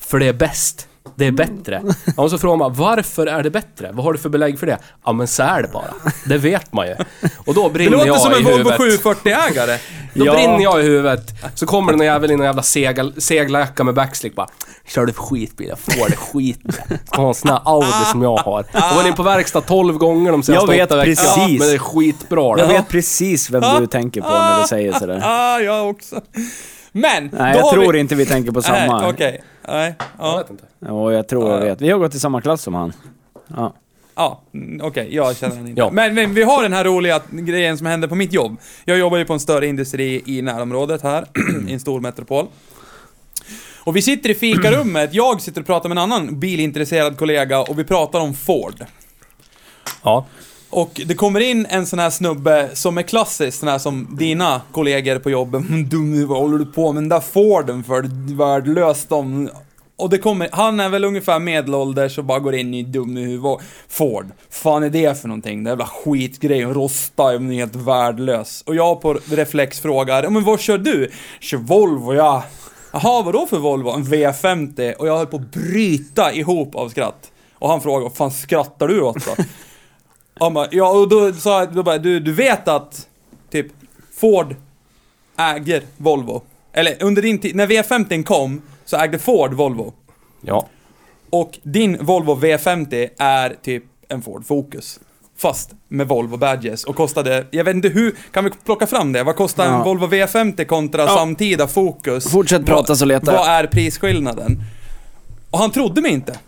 För det är bäst. Det är bättre. Mm. Ja, och så frågar man varför är det bättre? Vad har du för belägg för det? Ja men så är det bara. Det vet man ju. Och Det då Mm, brinner jag i låter huvudet. som en Volvo 740-ägare. Då Ja. brinner jag i huvudet. Så kommer det någon jävel i någon jävla segel, seglarjacka med backslick bara. Kör du för skitbil? Jag får det skit. Ska ha en sån här Audi som jag har. Jag var inne på verkstad 12 gånger de senaste Jag vet åtta veckorna. precis. Men det är skitbra. jag det. vet precis vem du tänker på när du säger sådär. ah, jag också. Men, Nej då jag har tror vi... inte vi tänker på samma. Nej, okej. Nej, Jag ja. vet inte. Jo, jag tror jag vet. Vi har gått i samma klass som han. Ja. Ja, mm, okej, jag känner den inte. Ja. Men, men vi har den här roliga grejen som hände på mitt jobb. Jag jobbar ju på en större industri i närområdet här, i en stor metropol. Och vi sitter i fikarummet, jag sitter och pratar med en annan bilintresserad kollega och vi pratar om Ford. Ja. Och det kommer in en sån här snubbe som är klassisk, sån här som dina kollegor på jobbet. "Mm, Dum, vad håller du på med den där Forden för? Det är Värdelöst om... Och det kommer, han är väl ungefär medelålders och bara går in i dum i huvudet. Ford, fan är det för någonting? Det är jävla skitgrej, rosta, den är helt värdelös. Och jag på reflex frågar, "Ja, men vad kör du? Kör Volvo ja. Jaha, vadå för Volvo? En V50. Och jag höll på att bryta ihop av skratt. Och han frågar, vad fan skrattar du åt då? Han bara, ja och då sa jag, då bara, du, du vet att typ Ford äger Volvo. Eller under din tid, när V50 kom så ägde Ford Volvo. Ja. Och din Volvo V50 är typ en Ford Focus. Fast med Volvo Badges och kostade, jag vet inte hur, kan vi plocka fram det? Vad kostar en Ja. Volvo V50 kontra samtida Focus? Fortsätt prata så letar jag. Vad är prisskillnaden? Och han trodde mig inte.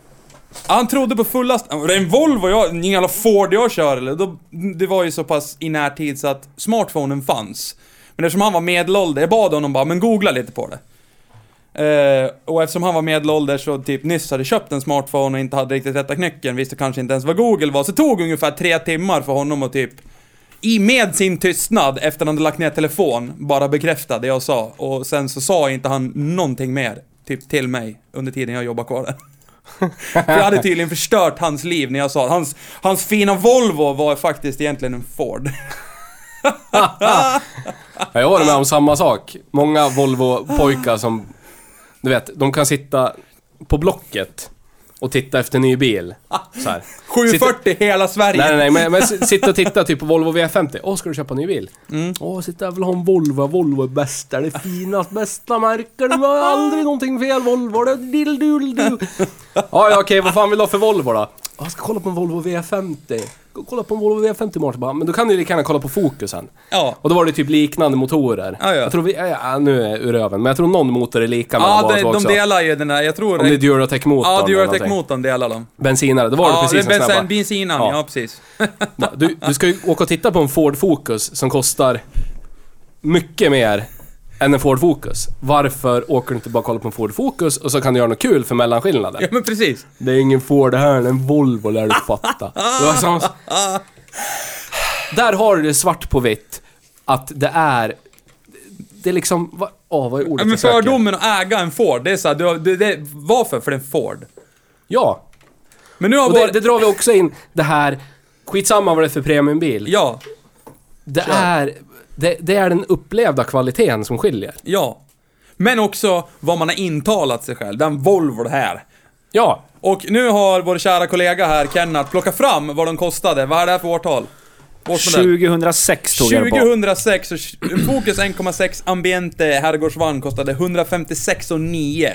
Han trodde på fullast... Det är en Volvo jag... Ingen jävla Ford jag kör eller? Då, det var ju så pass i närtid så att smartphonen fanns. Men eftersom han var medelålder, jag bad honom bara, men googla lite på det. Eh, och eftersom han var medelålders och typ nyss hade köpt en smartphone och inte hade riktigt rätta knäcken, visste kanske inte ens vad Google var, så tog ungefär tre timmar för honom att typ i med sin tystnad efter han hade lagt ner telefon bara bekräfta det jag sa och sen så sa inte han någonting mer typ till mig under tiden jag jobbade kvar där. För jag hade tydligen förstört hans liv när jag sa att hans, hans fina Volvo var faktiskt egentligen en Ford. Ja, Jag har varit med om samma sak. Många Volvo-pojkar som, du vet, de kan sitta på Blocket och titta efter ny bil. Så här. 740 hela Sverige. Nej, nej, nej, men, men s- sitta och titta typ på Volvo V50. Åh, ska du köpa en ny bil? Mm. Åh, sitta jag vill ha en Volvo. Volvo är bästa, det är finast, bästa märken. Det var aldrig någonting fel Volvo. Det dill, dill, dill. Ja, ja, okej, vad fan vill du ha för Volvo då? "Ja, Jag ska kolla på en Volvo V50. Gå och Kolla på en Volvo V50 imorgon. Bara, Men då kan du ju lika gärna kolla på Fokusen. Ja. Och då var det typ liknande motorer. Ja, ja. Jag tror vi, ja, ja, nu är jag ur öven, men jag tror någon motor är lika mellan Ja, båda de, två de också. delar ju den här, jag tror... Om det är Duratec-motorn ja, eller någonting. Duratec-motorn delar de. Bensinare, då var det ja, precis det en är sån här bensin, bara, bensinan, Ja. ja. precis. Ja, du, du ska ju åka och titta på en Ford Focus som kostar mycket mer än en Ford Focus. Varför åker du inte bara och kollar på en Ford Focus och så kan du göra något kul för mellanskillnaden? Ja, men precis. Det är ingen Ford det här, det är en Volvo lär du fatta. Det var som... Där har du det svart på vitt att det är... Det är liksom... Vad, åh, vad är ordet Ja, men jag söker? fördomen att äga en Ford, det är såhär, du, du, det, varför? För det är en Ford. Ja. Men nu har Och det, bara... det drar vi också in det här... Skitsamma vad det är för premiumbil. Ja, det, är, det, det är den upplevda kvaliteten som skiljer. ja. Men också vad man har intalat sig själv. Den Volvo det här. Ja. Och nu har vår kära kollega här, Kenneth, plockat fram vad de kostade. Vad är det här för årtal? Årsmodell? 2006 tog jag det på. 2006 och tj- Focus 1,6 Ambiente herrgårdsvagn kostade 156 och 9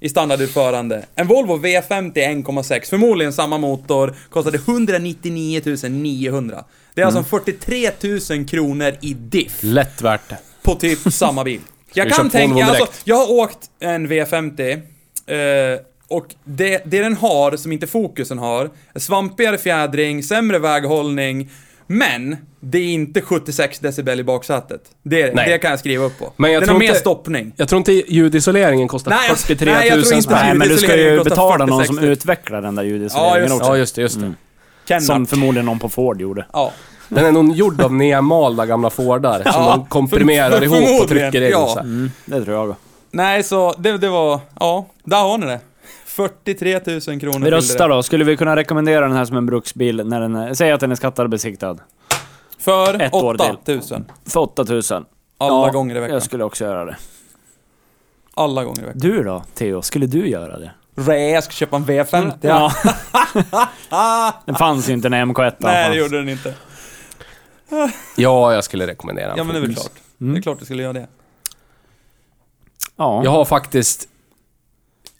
i standardutförande. En Volvo V50 1,6, förmodligen samma motor, kostade 199 900. Det är Mm. alltså 43 000 kronor i diff Lätt värt det. på typ samma bil. Jag vi kan köpa Volvon tänka, alltså, direkt? jag har åkt en V50 eh, och det, det den har som inte fokusen har, är svampigare fjädring, sämre väghållning, men det är inte 76 decibel i baksätet. Det, Nej. det kan jag skriva upp på. Men jag den tror har mer inte- stoppning. Jag tror inte ljudisoleringen kostar Nej, jag- 43 000 nej, jag tror inte spänn. Nej, men du ska ljudisoleringen ju kostar betala någon som 40-60. utvecklar den där ljudisoleringen Ja, just- också. Ja, just det, just det. Kenneth. Som förmodligen någon på Ford gjorde. Ja. Mm. Den är nog gjord av nedmalda gamla Fordar som Ja, de komprimerar för- för- ihop och förmodligen, trycker in. ja. Så här. Mm, det tror jag. Nej, så det, det var... Ja, där har ni det. 43 000 kronor. Vi röstar billigare. då. Skulle vi kunna rekommendera den här som en bruksbil när den... är- Säg att den är skattad och besiktad. För Ett år 8 000. För 8000. Alla Ja, gånger i veckan. Jag skulle också göra det. Alla gånger i veckan. Du då, Theo? Skulle du göra det? Nej, jag ska köpa en V50. Ja. den fanns ju inte när MK1 Nej, fanns. det gjorde den inte. ja, jag skulle rekommendera en Ja men det är väl Focus. klart. Det är klart du skulle göra det. Ja. Jag har faktiskt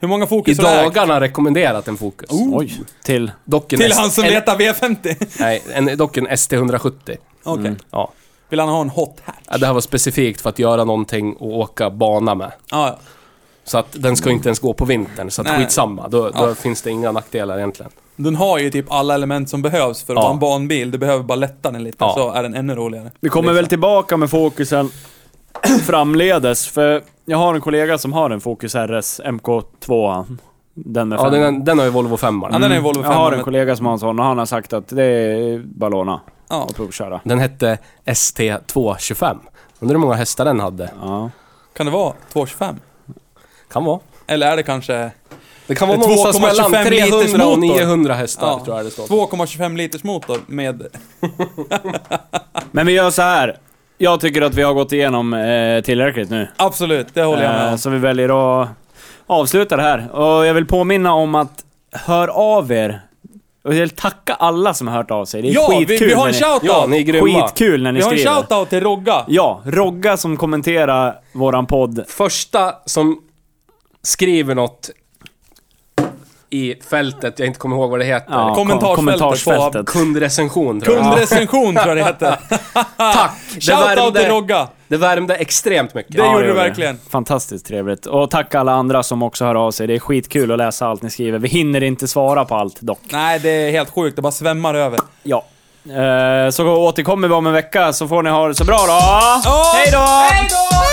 Hur många i fokus har du ägt? dagarna rekommenderat en Focus. Oj. Till... Dock en Oh, Till S- han som en- letar V50? Okej. Nej, en, dock en ST170. Ja. Vill han ha en hot hatch? Ja, Det här var specifikt för att göra någonting och åka bana med. Ja, ja. Så att den ska ju inte ens gå på vintern, så att Nej. skitsamma. Då, då Ja. finns det inga nackdelar egentligen. Den har ju typ alla element som behövs för att Ja. vara en banbil. Du behöver bara lätta den lite, Ja. så är den ännu roligare. Liksom. Vi kommer väl tillbaka med fokusen framledes, för Jag har en kollega som har en Focus RS MK2. Den med Ja, fem- den, den har ju Volvo Mm. 5 Ja, den är ju Volvo Jag har 500. en kollega som har en sån och han har sagt att det är bara låna Ja. och provköra. Den hette ST225. Undrar hur många hästar den hade? Ja. Kan det vara 225? Kan vara. Eller är det kanske Det kan vara Det är någonstans mellan 2,25 liters 300 och motor. 900 hästar Ja. tror jag det står. 2,25 liters motor med... Men vi gör så här. Jag tycker att vi har gått igenom eh, tillräckligt nu. Absolut, det håller jag med Eh, om. så vi väljer att avsluta det här. Och jag vill påminna om att hör av er. Och jag vill tacka alla som har hört av sig. Det är Ja, vi, skitkul vi har när en ni- shoutout! Ja, ni är grymma. Skitkul när ni vi har en skriver. shoutout till Rogga. Ja, Rogga som kommenterar våran podd. Första som skriver något i fältet, jag inte kommer ihåg vad det heter. Ja, kommentarsfältet kommentarsfältet. Kundrecension tror jag. Kundrecension tror jag det hette. Tack! Det Shoutout till värmde, Rogga! det värmde extremt mycket. Det- gjorde du verkligen. Fantastiskt trevligt. Och tack alla andra som också hör av sig. Det är skitkul att läsa allt ni skriver. Vi hinner inte svara på allt dock. Nej, det är helt sjukt. Det bara svämmar över. Ja. Eh, Så återkommer vi om en vecka så får ni ha det så bra då. Ja. Hej då! Hej då!